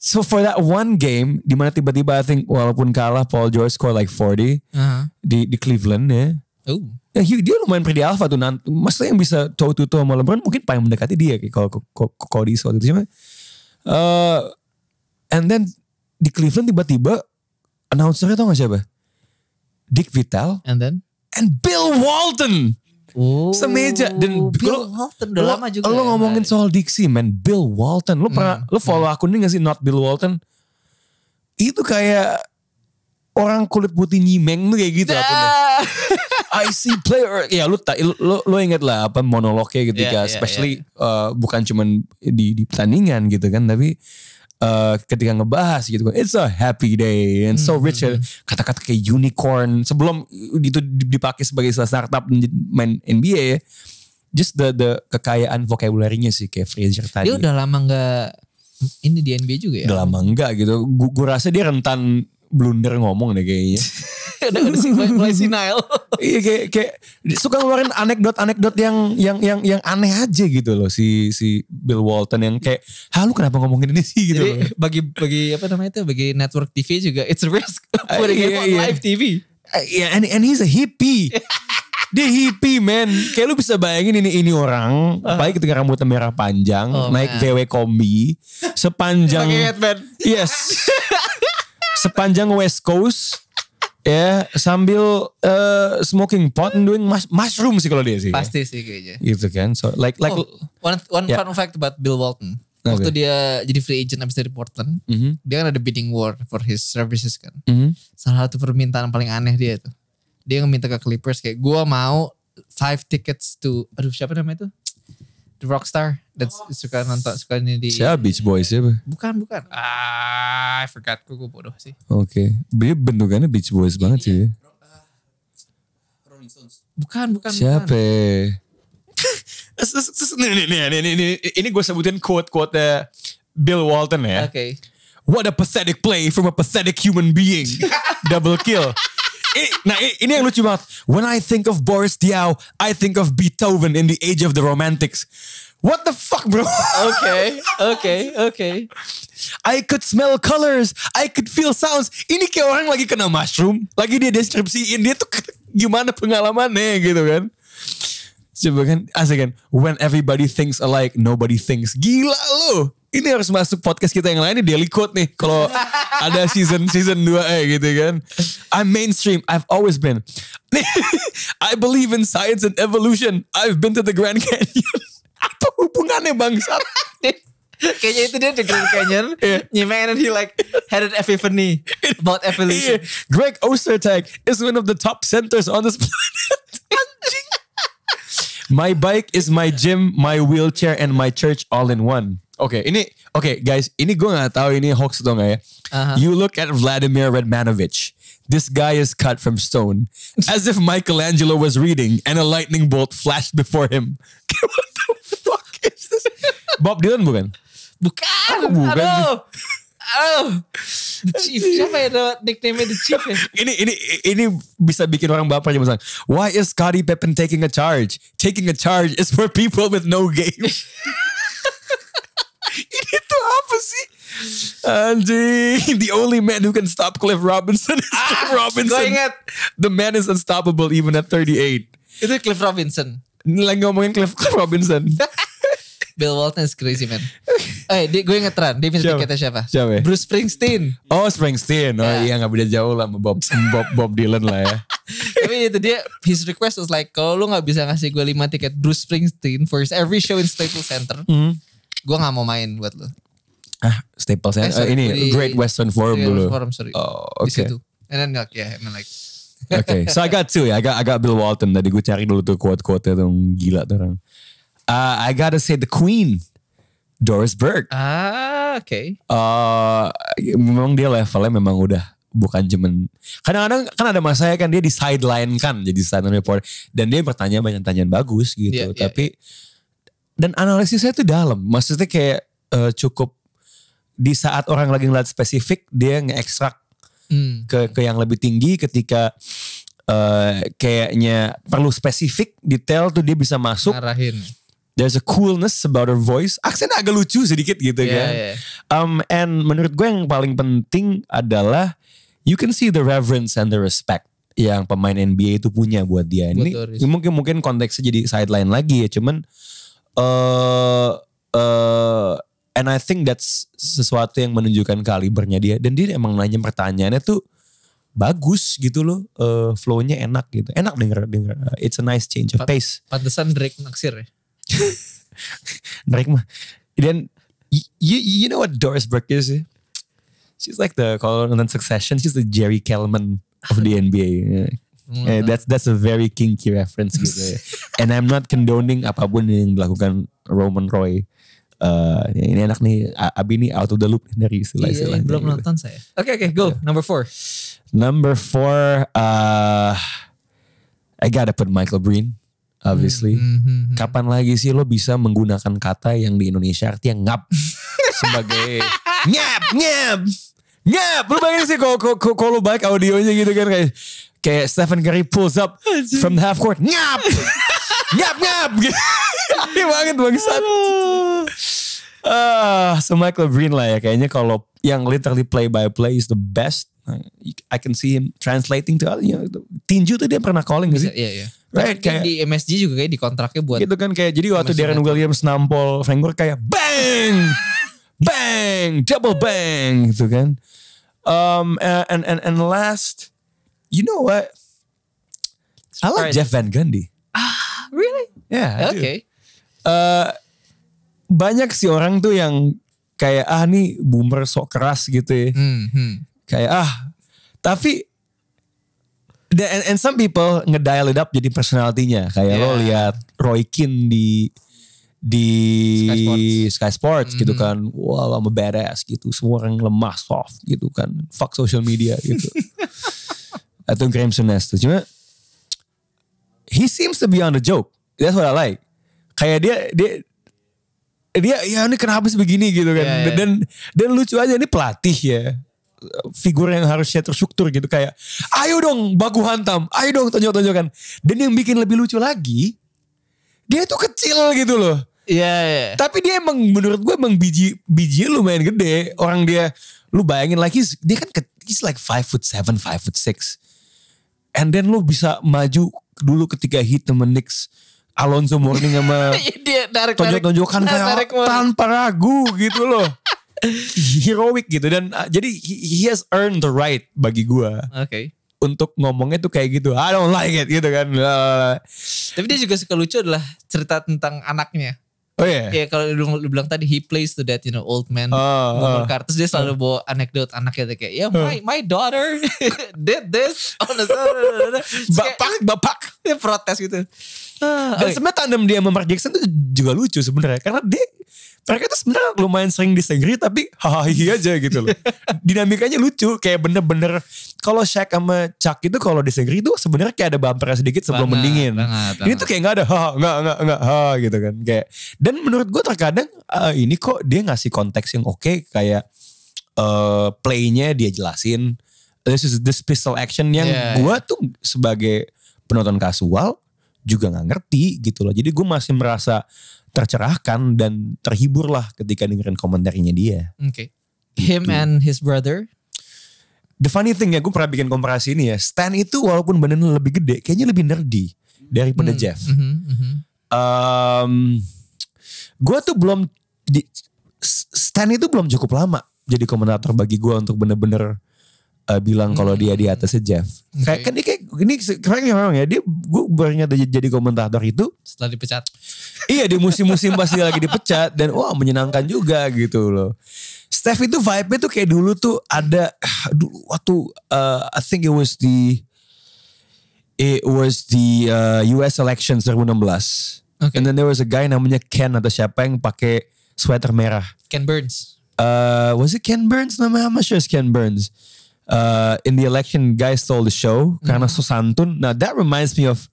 [SPEAKER 2] So for that one game di mana
[SPEAKER 3] Uh-huh.
[SPEAKER 2] tiba-tiba I think walaupun kalah Paul George score like 40
[SPEAKER 3] Heeh.
[SPEAKER 2] di di Cleveland ya.
[SPEAKER 3] Oh.
[SPEAKER 2] Ya, he- dia lumayan pretty alpha tuh. Nan- Maksudnya yang bisa toe to toe sama LeBron mungkin paling mendekati dia kayak kalau kalau- kalau di waktu itu cuma eh, and then di Cleveland tiba-tiba announcernya tau gak siapa? Dick Vitale
[SPEAKER 3] And then
[SPEAKER 2] and Bill Walton.
[SPEAKER 3] Oh,
[SPEAKER 2] Semeja. Dan
[SPEAKER 3] Bill
[SPEAKER 2] lo-
[SPEAKER 3] Walton udah
[SPEAKER 2] Lo-
[SPEAKER 3] lama
[SPEAKER 2] Lo
[SPEAKER 3] juga. ya, Hmm,
[SPEAKER 2] ngomongin
[SPEAKER 3] Bang.
[SPEAKER 2] soal diksi man. Bill Walton. Lo pernah, lo follow akun ini gak sih? Not Bill Walton. Itu kayak orang kulit putih nyimeng tuh kayak gitu akunnya.
[SPEAKER 3] Ah.
[SPEAKER 2] I see player. Ya lu, ta- lu, lu, lu inget lah apa monolognya
[SPEAKER 3] Iya,
[SPEAKER 2] ketika
[SPEAKER 3] iya,
[SPEAKER 2] especially uh, bukan cuman di, di pertandingan gitu kan. Tapi uh, ketika ngebahas gitu kan. It's a happy day and so rich. Kata-kata kayak unicorn. Sebelum itu dipakai sebagai istilah startup main NBA ya. Just the, the kekayaan vocabulary-nya sih kayak Frazier tadi.
[SPEAKER 3] Dia Ya udah lama nggak ini di NBA juga ya.
[SPEAKER 2] Udah
[SPEAKER 3] (laughs)
[SPEAKER 2] lama enggak gitu. Gu- Gua rasa dia rentan blunder ngomong deh kayaknya.
[SPEAKER 3] udah udah sih mulai, (laughs) mulai senile.
[SPEAKER 2] Iya kayak kayak suka ngeluarin anekdot-anekdot yang yang yang yang aneh aja gitu loh si si Bill Walton yang kayak, "Hah, lu kenapa ngomongin ini sih?" gitu.
[SPEAKER 3] Jadi
[SPEAKER 2] loh.
[SPEAKER 3] bagi bagi apa namanya itu bagi network TV juga it's a
[SPEAKER 2] (laughs)
[SPEAKER 3] risk putting
[SPEAKER 2] iya,
[SPEAKER 3] him on
[SPEAKER 2] iya.
[SPEAKER 3] live TV.
[SPEAKER 2] Eh, Iya, and and he's a
[SPEAKER 3] (laughs)
[SPEAKER 2] hippie. Dia hippie man. Kayak lu bisa bayangin ini ini orang, apalagi ketika rambutnya merah panjang,
[SPEAKER 3] Uh-huh. Oh,
[SPEAKER 2] naik
[SPEAKER 3] man.
[SPEAKER 2] VW kombi, sepanjang
[SPEAKER 3] Hmm.
[SPEAKER 2] Yes. Sepanjang West Coast ya sambil eh, smoking pot and doing mush- mushroom sih kalau dia sih.
[SPEAKER 3] Pasti sih kayaknya.
[SPEAKER 2] Gitu kan. So like like
[SPEAKER 3] Oh, one one
[SPEAKER 2] Ya.
[SPEAKER 3] fun fact about Bill Walton.
[SPEAKER 2] Oke.
[SPEAKER 3] Waktu dia jadi free agent abis dari Portland,
[SPEAKER 2] Mhm.
[SPEAKER 3] dia kan ada bidding war for his services kan.
[SPEAKER 2] Mhm.
[SPEAKER 3] Salah satu permintaan paling aneh dia itu. Dia minta ke Clippers kayak gua mau five tickets to aduh siapa namanya itu? The Rockstar. That's suka nonton suka ini di
[SPEAKER 2] Siapa Beach Boys siapa?
[SPEAKER 3] Bukan, bukan. Ah, I forgot. Gue bodoh sih.
[SPEAKER 2] Oke. Dia bentukannya Beach Boys banget sih. ya.
[SPEAKER 3] Bukan, bukan.
[SPEAKER 2] Siapa? (laughs)
[SPEAKER 3] bukan.
[SPEAKER 2] ya? Terus- terus- terus- Nih, nih, nih, nih, nih, nih. Ini gue sebutin quote-quote eh, Bill Walton ya.
[SPEAKER 3] Oke.
[SPEAKER 2] What a pathetic play from a pathetic human being. Double kill. Ini- nah i- ini yang lucu banget. When I think of Boris Diaw, I think of Beethoven in the age of the romantics. What the fuck bro?
[SPEAKER 3] Oke, oke, oke.
[SPEAKER 2] I could smell colors, I could feel sounds. Ini kayak orang lagi kena mushroom, lagi dia deskripsiin dia tuh ke- gimana pengalamannya gitu kan. Coba kan, asik kan. When everybody thinks alike, nobody thinks. Gila lo. Ini harus masuk podcast kita yang lain di Daily Code nih. Kalau ada season season 2 eh gitu kan. I'm mainstream. I've always been. (laughs) I believe in science and evolution. I've been to the Grand Canyon. (laughs) Apa hubungannya bangsat?
[SPEAKER 3] Kayaknya itu dia The Grand Canyon.
[SPEAKER 2] Iya.
[SPEAKER 3] Nyimeng and he like had an epiphany about
[SPEAKER 2] Yeah,
[SPEAKER 3] evolution.
[SPEAKER 2] (laughs) Greg Ostertag is one of the top centers on this (laughs) planet. Anjing. my bike is my gym, my wheelchair, and my church all in one. Oke, ini oke guys, ini gue nggak tahu ini hoax atau nggak ya.
[SPEAKER 3] Aha.
[SPEAKER 2] You look at Vladimir Redmanovich. This guy is cut from stone, as if Michelangelo was reading and a lightning bolt flashed before him. (laughs) What the fuck is this? Bob Dylan bukan?
[SPEAKER 3] Bukan.
[SPEAKER 2] bukan.
[SPEAKER 3] Aduh. Aduh. The Chief. Siapa ya nama- nickname-nya The Chief ya?
[SPEAKER 2] ini ini ini bisa bikin orang baper aja misalnya. Why is Scottie Pippen taking a charge? Taking a charge is for people with no game. (laughs) ini tuh apa sih? Anjing, the only man who can stop Cliff Robinson is Cliff Robinson.
[SPEAKER 3] Gue Ah, ingat.
[SPEAKER 2] The man is unstoppable even at 38.
[SPEAKER 3] Itu Cliff Robinson.
[SPEAKER 2] Ini Lagi ngomongin Cliff, Cliff Robinson.
[SPEAKER 3] (laughs) Bill Walton is crazy
[SPEAKER 2] (laughs)
[SPEAKER 3] man. Eh, dia- gue inget Ran. Dia minta
[SPEAKER 2] Siapa?
[SPEAKER 3] tiketnya siapa?
[SPEAKER 2] Siapa ya?
[SPEAKER 3] Bruce Springsteen.
[SPEAKER 2] Oh Springsteen, oh
[SPEAKER 3] Ya.
[SPEAKER 2] iya nggak beda jauh lah sama Bob Bob, Bob Dylan lah ya.
[SPEAKER 3] Tapi itu dia his request was like kalau lu nggak bisa ngasih gue 5 tiket Bruce Springsteen for his every show in Staples Center,
[SPEAKER 2] Hmm.
[SPEAKER 3] gue nggak mau main buat lu.
[SPEAKER 2] Ah, Staples ya.
[SPEAKER 3] Eh, sorry,
[SPEAKER 2] ini
[SPEAKER 3] di-
[SPEAKER 2] Great Western Forum
[SPEAKER 3] Di
[SPEAKER 2] dulu.
[SPEAKER 3] Forum, sorry.
[SPEAKER 2] Oh, oke.
[SPEAKER 3] Di situ. And then like yeah, I mean like
[SPEAKER 2] Okay, so I got two ya. I got, I got Bill Walton. Tadi gue cari dulu tuh quote-quote tuh yang gila tuh orang. Uh, I gotta say the queen, Doris Burke.
[SPEAKER 3] ah oke.
[SPEAKER 2] Uh, memang dia levelnya memang udah bukan cuman kadang-kadang kan ada masanya kan dia di sideline kan jadi sideline reporter dan dia bertanya banyak tanyaan bagus gitu
[SPEAKER 3] Iya, iya,
[SPEAKER 2] tapi dan analisisnya itu dalam maksudnya kayak eh, cukup di saat orang lagi ngeliat spesifik dia nge-extract
[SPEAKER 3] Hmm.
[SPEAKER 2] ke ke yang lebih tinggi ketika eh, kayaknya perlu spesifik detail tuh dia bisa masuk
[SPEAKER 3] Ngarahin.
[SPEAKER 2] there's a coolness about her voice aksennya agak lucu sedikit gitu
[SPEAKER 3] Yeah,
[SPEAKER 2] kan
[SPEAKER 3] yeah.
[SPEAKER 2] Um, and menurut gue yang paling penting adalah you can see the reverence and the respect yang pemain NBA itu punya buat dia
[SPEAKER 3] Buat
[SPEAKER 2] ini.
[SPEAKER 3] Doris.
[SPEAKER 2] ini mungkin mungkin konteksnya jadi sideline lagi ya, cuman eh eh, and I think that's sesuatu yang menunjukkan kalibernya dia dan dia emang nanya pertanyaannya tuh bagus gitu loh, eh, flow-nya enak gitu. Enak denger denger. It's a nice change of
[SPEAKER 3] Pat-
[SPEAKER 2] pace.
[SPEAKER 3] Pantesan Drake naksir ya.
[SPEAKER 2] Drake mah. Dan y- you, you know what Doris Burke is? ya? She's like the kalau nonton Succession, she's the Jerry Kelman of the NBA. Yeah.
[SPEAKER 3] Hmm.
[SPEAKER 2] Eh, that's that's a very kinky reference gitu. ya. And I'm not condoning apapun yang dilakukan Roman Roy. Eh, ini enak nih, A- Abi ini out of the loop nih dari
[SPEAKER 3] Iya,
[SPEAKER 2] istilah-istilahnya.
[SPEAKER 3] belum
[SPEAKER 2] gitu.
[SPEAKER 3] nonton saya. Oke oke go number four.
[SPEAKER 2] Number four, uh, I gotta put Michael Breen, obviously.
[SPEAKER 3] Hmm,
[SPEAKER 2] Kapan lagi sih lo bisa menggunakan kata yang di Indonesia artinya (laughs) ngap sebagai ngap ngap ngap. Lo bayangin sih kalau kalau- kalau- kalau lo baik audionya gitu kan kayak kayak Stephen Curry pulls up from the half court ngap ngap ngap. (laughs) Aneh banget bangsat. Ah, so Michael Breen lah ya kayaknya kalau yang literally play by play is the best. I can see him translating to other, you know, tinju tuh dia pernah calling gak sih?
[SPEAKER 3] Bisa, iya iya.
[SPEAKER 2] Right,
[SPEAKER 3] Tapi
[SPEAKER 2] kayak-
[SPEAKER 3] di MSG juga kayak di kontraknya buat
[SPEAKER 2] gitu kan kayak jadi waktu
[SPEAKER 3] Masih
[SPEAKER 2] Darren
[SPEAKER 3] ingat.
[SPEAKER 2] Williams nampol Frank Gore kayak bang bang double bang gitu kan um and and and last you know what I like
[SPEAKER 3] Surprise.
[SPEAKER 2] Jeff Van Gundy
[SPEAKER 3] really?
[SPEAKER 2] yeah I
[SPEAKER 3] Oke.
[SPEAKER 2] do. Eh, banyak sih orang tuh yang kayak ah nih boomer sok keras gitu ya
[SPEAKER 3] Hmm, hmm.
[SPEAKER 2] kayak ah tapi the- and, and some people ngedial it up jadi personalitinya kayak lo
[SPEAKER 3] Yeah.
[SPEAKER 2] lihat Roy Keane di di
[SPEAKER 3] Sky Sports. Mm-hmm.
[SPEAKER 2] Sky Sports gitu kan wow I'm a badass gitu semua orang lemah soft gitu kan fuck social media
[SPEAKER 3] (laughs)
[SPEAKER 2] gitu atau Graham Souness tuh cuma he seems to be on the joke that's what I like kayak dia dia dia ya ini kenapa sih begini gitu kan
[SPEAKER 3] Yeah, yeah.
[SPEAKER 2] dan dan lucu aja ini pelatih ya figur yang harusnya terstruktur gitu kayak ayo dong baku hantam ayo dong tonjok-tonjokan dan yang bikin lebih lucu lagi dia tuh kecil gitu loh
[SPEAKER 3] Iya iya. (laughs)
[SPEAKER 2] tapi dia emang menurut gue emang biji biji lumayan gede orang dia lu bayangin lagi dia kan ke- he's like five foot seven five foot six and then lu bisa maju dulu ketika hit temen Knicks Alonso Morning sama
[SPEAKER 3] Dia narik narik.
[SPEAKER 2] tonjok-tonjokan kayak
[SPEAKER 3] narik mau-
[SPEAKER 2] tanpa ragu gitu loh. (laughs) Heroic gitu dan uh, jadi he, he has earned the right bagi gua
[SPEAKER 3] Oke.
[SPEAKER 2] untuk ngomongnya tuh kayak gitu. I don't like it gitu kan. Uh,
[SPEAKER 3] Tapi dia juga suka lucu adalah cerita tentang anaknya.
[SPEAKER 2] oh yeah.
[SPEAKER 3] Ya kalau lu, lu bilang tadi he plays to that you know old man
[SPEAKER 2] Ah,
[SPEAKER 3] boomer
[SPEAKER 2] ah.
[SPEAKER 3] card. Terus dia selalu bawa anekdot anaknya tuh kayak ya my my daughter (laughs) did this (laughs) Oh, on the Terus kayak, "Ah,
[SPEAKER 2] Bapak bapak.
[SPEAKER 3] (laughs) dia protes gitu.
[SPEAKER 2] Dan sebenarnya tandem dia sama Mark Jackson tuh juga lucu sebenarnya karena dia mereka tuh sebenarnya lumayan sering disagree tapi hahaha aja gitu
[SPEAKER 3] (laughs)
[SPEAKER 2] loh. Dinamikanya lucu kayak bener-bener kalau Shaq sama Chuck itu kalau disagree tuh sebenarnya kayak ada bumper sedikit sebelum mendingin. Ini tuh kayak nggak ada ha nggak nggak nggak ha gitu kan kayak dan menurut gue terkadang eh, ini kok dia ngasih konteks yang oke kayak eh playnya dia jelasin this is this pistol action yang
[SPEAKER 3] Yeah,
[SPEAKER 2] gue tuh sebagai penonton kasual juga nggak ngerti gitu loh jadi gue masih merasa tercerahkan dan terhibur lah ketika dengerin komentarnya dia.
[SPEAKER 3] Oke. Him
[SPEAKER 2] Gitu.
[SPEAKER 3] and his brother.
[SPEAKER 2] The funny thing ya gue pernah bikin komparasi ini ya Stan itu walaupun badannya lebih gede kayaknya lebih nerdy daripada Jeff.
[SPEAKER 3] Mhm, mhm.
[SPEAKER 2] um, gue tuh belum di, Stan itu belum cukup lama jadi komentator bagi gue untuk bener-bener uh, bilang kalau dia di atasnya Jeff. Kayak
[SPEAKER 3] Oke.
[SPEAKER 2] kan dia kayak ini keren ya memang ya dia gue baru ingat jadi- jadi komentator itu
[SPEAKER 3] Setelah dipecat.
[SPEAKER 2] Iya di musim-musim pas dia lagi dipecat dan wah menyenangkan juga gitu loh. Steph itu vibe-nya tuh kayak dulu tuh ada dulu waktu uh, I think it was the it was the uh, US elections 2016.
[SPEAKER 3] Oke.
[SPEAKER 2] And then there was a guy namanya Ken atau siapa yang pakai sweater merah.
[SPEAKER 3] Ken Burns.
[SPEAKER 2] Uh, was it Ken Burns namanya? I'm not sure it's Ken Burns. Uh, in the election, guy stole the show karena so santun. Nah, that reminds me of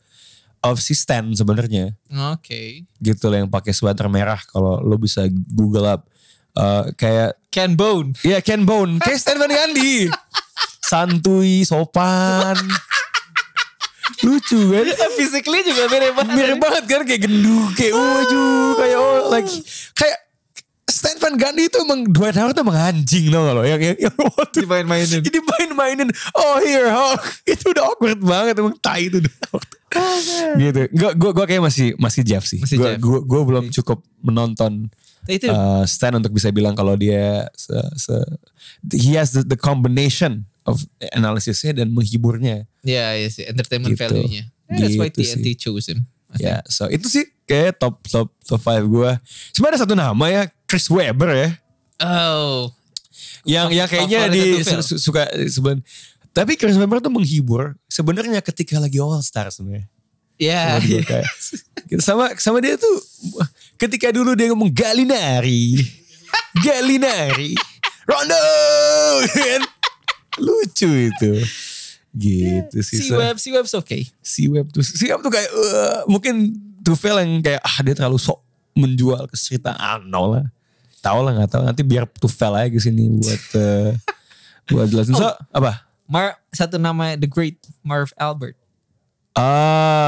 [SPEAKER 2] of si Stan sebenarnya
[SPEAKER 3] Oke.
[SPEAKER 2] gitu loh yang pakai sweater merah kalau lo bisa google up Eh, kayak
[SPEAKER 3] Ken Bone. (laughs)
[SPEAKER 2] ya Ken Bone kayak Stan Van Gundy santuy sopan lucu kan
[SPEAKER 3] Physically juga mirip banget.
[SPEAKER 2] mirip banget kan kayak gendut kayak uju kayak oh, like kayak Stan Van Gundy itu emang Dwight Howard tuh emang anjing tau gak lo yang yang, yang (laughs) waktu
[SPEAKER 3] Dimain-mainin.
[SPEAKER 2] jadi main-mainin oh (laughs) here Hulk itu udah awkward banget emang tai itu udah
[SPEAKER 3] (laughs)
[SPEAKER 2] awkward. gitu gue gue gue kayak masih masih Jeff sih
[SPEAKER 3] Masih
[SPEAKER 2] gue
[SPEAKER 3] Jeff.
[SPEAKER 2] gue gue belum cukup menonton
[SPEAKER 3] Nah, Itu
[SPEAKER 2] uh, Stan untuk bisa bilang kalau dia se- se- he has the, the combination of analisisnya dan menghiburnya
[SPEAKER 3] ya ya sih entertainment
[SPEAKER 2] Gitu.
[SPEAKER 3] value-nya. Yeah, that's why
[SPEAKER 2] Gitu sih.
[SPEAKER 3] TNT chose him.
[SPEAKER 2] ya so itu sih kayak top top top five gue cuma ada satu nama ya Chris Webber ya
[SPEAKER 3] Oh,
[SPEAKER 2] yang yang kayaknya
[SPEAKER 3] Favorit
[SPEAKER 2] di
[SPEAKER 3] itu film.
[SPEAKER 2] su- su- suka eh, seben tapi Chris Webber tuh menghibur sebenarnya ketika lagi All Star sebenarnya
[SPEAKER 3] ya.
[SPEAKER 2] Menurut
[SPEAKER 3] (laughs)
[SPEAKER 2] gua kayak. sama sama dia tuh ketika dulu dia ngomong Galinari Galinari Rondo kan? lucu itu gitu sih
[SPEAKER 3] Si
[SPEAKER 2] so.
[SPEAKER 3] web, si web's okay.
[SPEAKER 2] si web tuh si web tuh kayak eh, mungkin Tufel yang kayak ah dia terlalu sok menjual keseritaan no lah tahu lah nggak tahu nanti biar Tufel aja ke sini buat eh, buat jelasin so
[SPEAKER 3] Oh.
[SPEAKER 2] apa
[SPEAKER 3] Mar satu nama The Great Marv Albert.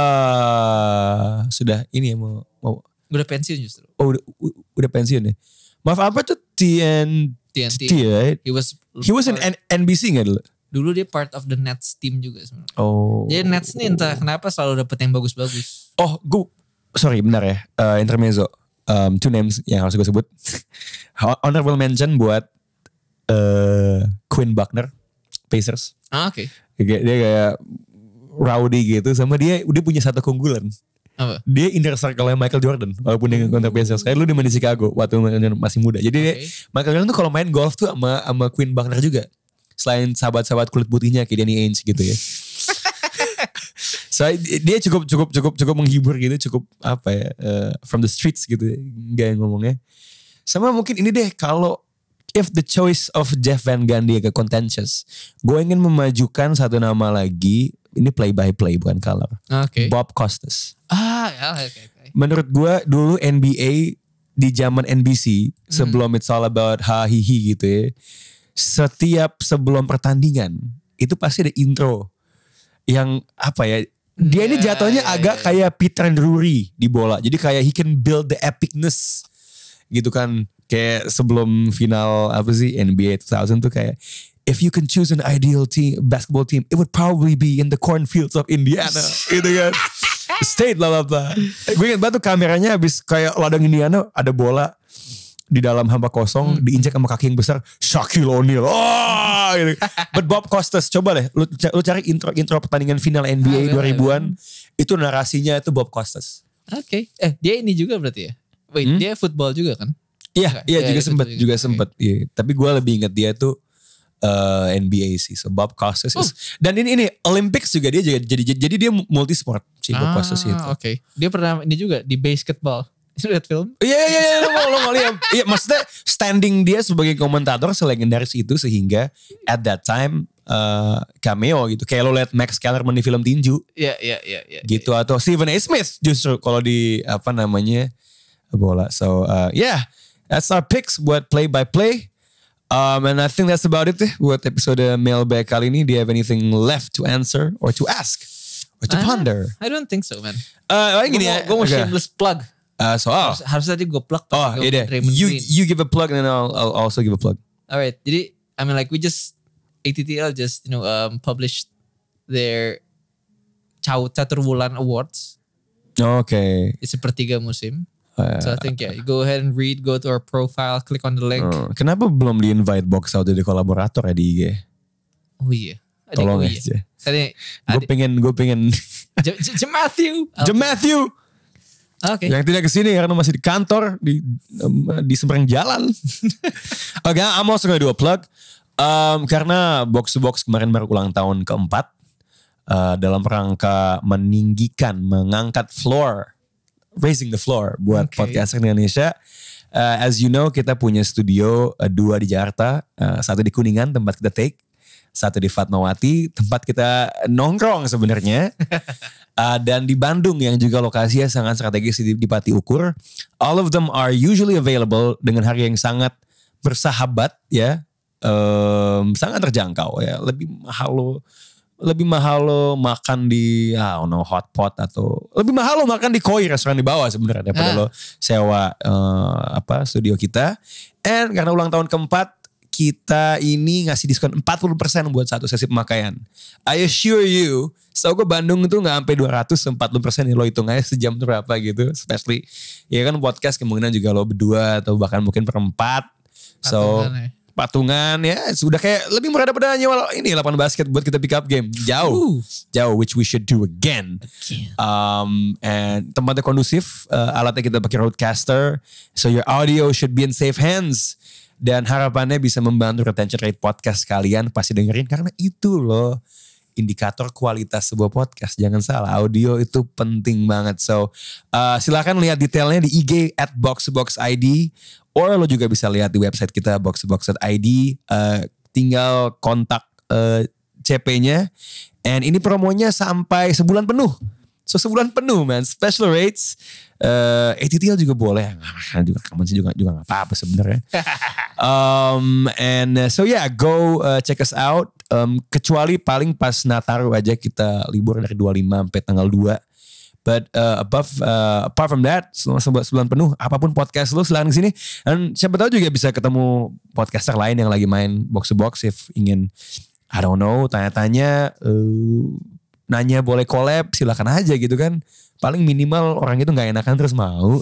[SPEAKER 2] ah sudah ini ya mau mau
[SPEAKER 3] Udah pensiun justru.
[SPEAKER 2] oh udah, u- udah pensiun ya maaf apa tuh TNT
[SPEAKER 3] TNT.
[SPEAKER 2] right
[SPEAKER 3] He was
[SPEAKER 2] he was in N- NBC nggak dulu
[SPEAKER 3] dulu dia part of the Nets team juga sebenarnya.
[SPEAKER 2] oh
[SPEAKER 3] Jadi Nets nih entah kenapa selalu dapet yang bagus-bagus.
[SPEAKER 2] Oh, gue sorry benar ya. Eh, intermezzo. Um, two names yang harus gue sebut. (laughs) Honorable mention buat eh Quinn Buckner, Pacers.
[SPEAKER 3] Ah, oke.
[SPEAKER 2] Dia, dia kayak rowdy gitu sama dia udah punya satu keunggulan.
[SPEAKER 3] Apa?
[SPEAKER 2] Dia inner circle Michael Jordan walaupun dia kontrak Pacers. Kayak lu dia main di Chicago waktu masih muda. Jadi dia,
[SPEAKER 3] Oke.
[SPEAKER 2] Michael Jordan tuh kalau main golf tuh sama sama Quinn Buckner juga. Selain sahabat-sahabat kulit putihnya kayak Danny Ainge gitu ya.
[SPEAKER 3] (laughs)
[SPEAKER 2] so dia cukup cukup cukup cukup menghibur gitu, cukup apa ya eh, from the streets gitu ya, gaya ngomongnya. Sama mungkin ini deh kalau if the choice of Jeff Van Gundy ke contentious, gue ingin memajukan satu nama lagi. Ini play by play bukan color.
[SPEAKER 3] Ah, Oke.
[SPEAKER 2] Bob Costas
[SPEAKER 3] Ah, ya, oke. oke.
[SPEAKER 2] menurut gua dulu NBA di zaman NBC sebelum it's all about hahihi gitu ya setiap sebelum pertandingan itu pasti ada intro yang apa ya dia ini
[SPEAKER 3] Ya,
[SPEAKER 2] jatuhnya
[SPEAKER 3] ya,
[SPEAKER 2] agak
[SPEAKER 3] ya.
[SPEAKER 2] kayak Peter Drury di bola jadi kayak he can build the epicness gitu kan kayak sebelum final apa sih NBA 2000 tuh kayak if you can choose an ideal team basketball team it would probably be in the cornfields of Indiana (laughs) gitu kan state lah bla bla. gue ingat banget tuh kameranya habis kayak ladang Indiana ada bola di dalam hamba kosong
[SPEAKER 3] Hmm.
[SPEAKER 2] diinjak sama kaki yang besar Shaquille O'Neal oh, gitu. but Bob Costas coba deh lu, ca- lu cari intro intro pertandingan final NBA
[SPEAKER 3] Ah, boleh,
[SPEAKER 2] 2000-an itu narasinya itu Bob Costas
[SPEAKER 3] Oke. Eh, dia ini juga berarti ya? Wait,
[SPEAKER 2] Hmm?
[SPEAKER 3] dia football juga kan?
[SPEAKER 2] Iya,
[SPEAKER 3] Enggak,
[SPEAKER 2] iya
[SPEAKER 3] iya,
[SPEAKER 2] juga
[SPEAKER 3] ikut
[SPEAKER 2] sempet,
[SPEAKER 3] juga.
[SPEAKER 2] juga
[SPEAKER 3] Oke.
[SPEAKER 2] sempet. Iya, tapi gue lebih inget dia tuh eh, NBA sih, so Bob Costas.
[SPEAKER 3] Oh.
[SPEAKER 2] is- Dan ini ini Olympics juga dia juga- jadi jadi, jadi dia multi sport si Bob Costas itu.
[SPEAKER 3] Ah, oke. Dia pernah ini juga di basketball. (laughs) Lihat film?
[SPEAKER 2] Iya iya iya lo mau lo mau lihat. Iya maksudnya standing dia sebagai komentator selegendaris itu sehingga at that time eh, cameo gitu. Kayak lo liat Max Kellerman di film tinju
[SPEAKER 3] Iya, iya, iya, iya.
[SPEAKER 2] gitu atau Stephen A. Smith justru kalau di apa namanya bola. So uh, yeah, that's our picks buat play by play. Um, and I think that's about it deh buat episode mailbag kali ini. Do you have anything left to answer or to ask or to
[SPEAKER 3] Ah.
[SPEAKER 2] ponder?
[SPEAKER 3] I don't think so, man.
[SPEAKER 2] Uh, paling
[SPEAKER 3] Gue
[SPEAKER 2] gini
[SPEAKER 3] mau,
[SPEAKER 2] ya.
[SPEAKER 3] gua mau
[SPEAKER 2] oke.
[SPEAKER 3] shameless plug.
[SPEAKER 2] Uh, soal.
[SPEAKER 3] Harus, harus tadi gue plug.
[SPEAKER 2] Oh,
[SPEAKER 3] Gua
[SPEAKER 2] iya deh.
[SPEAKER 3] Raymond
[SPEAKER 2] You
[SPEAKER 3] Green.
[SPEAKER 2] you give a plug and then I'll, I'll also give a plug.
[SPEAKER 3] Alright, jadi I mean like we just ATTL just you know um, published their Chow Caturwulan Awards.
[SPEAKER 2] Oke.
[SPEAKER 3] It's a pertiga musim.
[SPEAKER 2] Uh,
[SPEAKER 3] So I think yeah, you go ahead and read. Go to our profile, click on the link.
[SPEAKER 2] uh, kenapa belum di invite box out jadi kolaborator ya di IG?
[SPEAKER 3] Oh iya, Adik,
[SPEAKER 2] Tolong
[SPEAKER 3] oh iya.
[SPEAKER 2] aja.
[SPEAKER 3] Tadi
[SPEAKER 2] Gue pengen gue
[SPEAKER 3] (laughs)
[SPEAKER 2] pengen.
[SPEAKER 3] J- J- J- Matthew. Oh,
[SPEAKER 2] The Matthew.
[SPEAKER 3] Oke.
[SPEAKER 2] Yang tidak kesini karena masih di kantor di um, di seberang jalan. (laughs) Oke, I'm also gonna do a plug. Um, karena box to box kemarin baru ulang tahun keempat uh, dalam rangka meninggikan, mengangkat floor, raising the floor buat
[SPEAKER 3] Oke.
[SPEAKER 2] podcaster Indonesia. Uh, as you know, kita punya studio uh, dua di Jakarta, uh, satu di Kuningan tempat kita take, satu di Fatmawati tempat kita nongkrong sebenarnya. Uh, dan di Bandung yang juga lokasinya sangat strategis di, di Pati Ukur. All of them are usually available dengan harga yang sangat bersahabat ya. Em, sangat terjangkau ya. Lebih mahal lo lebih mahal lo makan di ah no hot pot atau lebih mahal lo makan di koi restoran di bawah sebenarnya daripada
[SPEAKER 3] Ah.
[SPEAKER 2] lo sewa eh, apa studio kita. And karena ulang tahun keempat kita ini ngasih diskon 40% buat satu sesi pemakaian. I assure you, setahu gue Bandung itu nggak sampai 200 sampai 40% nih lo hitung aja sejam tuh berapa gitu. Especially ya kan podcast kemungkinan juga lo berdua atau bahkan mungkin perempat. So
[SPEAKER 3] Patungan ya.
[SPEAKER 2] patungan ya sudah kayak lebih murah daripada nyewa ini lapangan basket buat kita pick up game jauh
[SPEAKER 3] Ooh.
[SPEAKER 2] jauh which we should do again um, and tempatnya kondusif uh, alatnya kita pakai roadcaster so your audio should be in safe hands dan harapannya bisa membantu retention rate podcast kalian pasti dengerin karena itu loh indikator kualitas sebuah podcast jangan salah audio itu penting banget so uh, silahkan lihat detailnya di IG at boxboxid or lo juga bisa lihat di website kita boxbox.id uh, tinggal kontak uh, CP-nya and ini promonya sampai sebulan penuh So sebulan penuh man, special rates. eh ATTL juga boleh. Nah, juga rekaman sih juga juga nggak apa-apa sebenarnya. um, and uh, so yeah, go uh, check us out. Um, kecuali paling pas Nataru aja kita libur dari 25 sampai tanggal 2. But uh, above uh, apart from that, selama sebu- sebulan penuh apapun podcast lu silahkan kesini. Dan siapa tahu juga bisa ketemu podcaster lain yang lagi main box to box if ingin I don't know, tanya-tanya, eh, nanya boleh collab, silakan aja gitu kan. Paling minimal orang itu nggak enakan terus mau.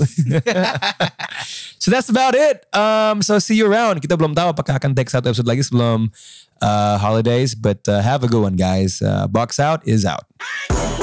[SPEAKER 2] so that's about it. Um, so see you around. Kita belum tahu apakah akan take satu episode lagi sebelum uh, holidays, but uh, have a good one guys. Uh, box out is out.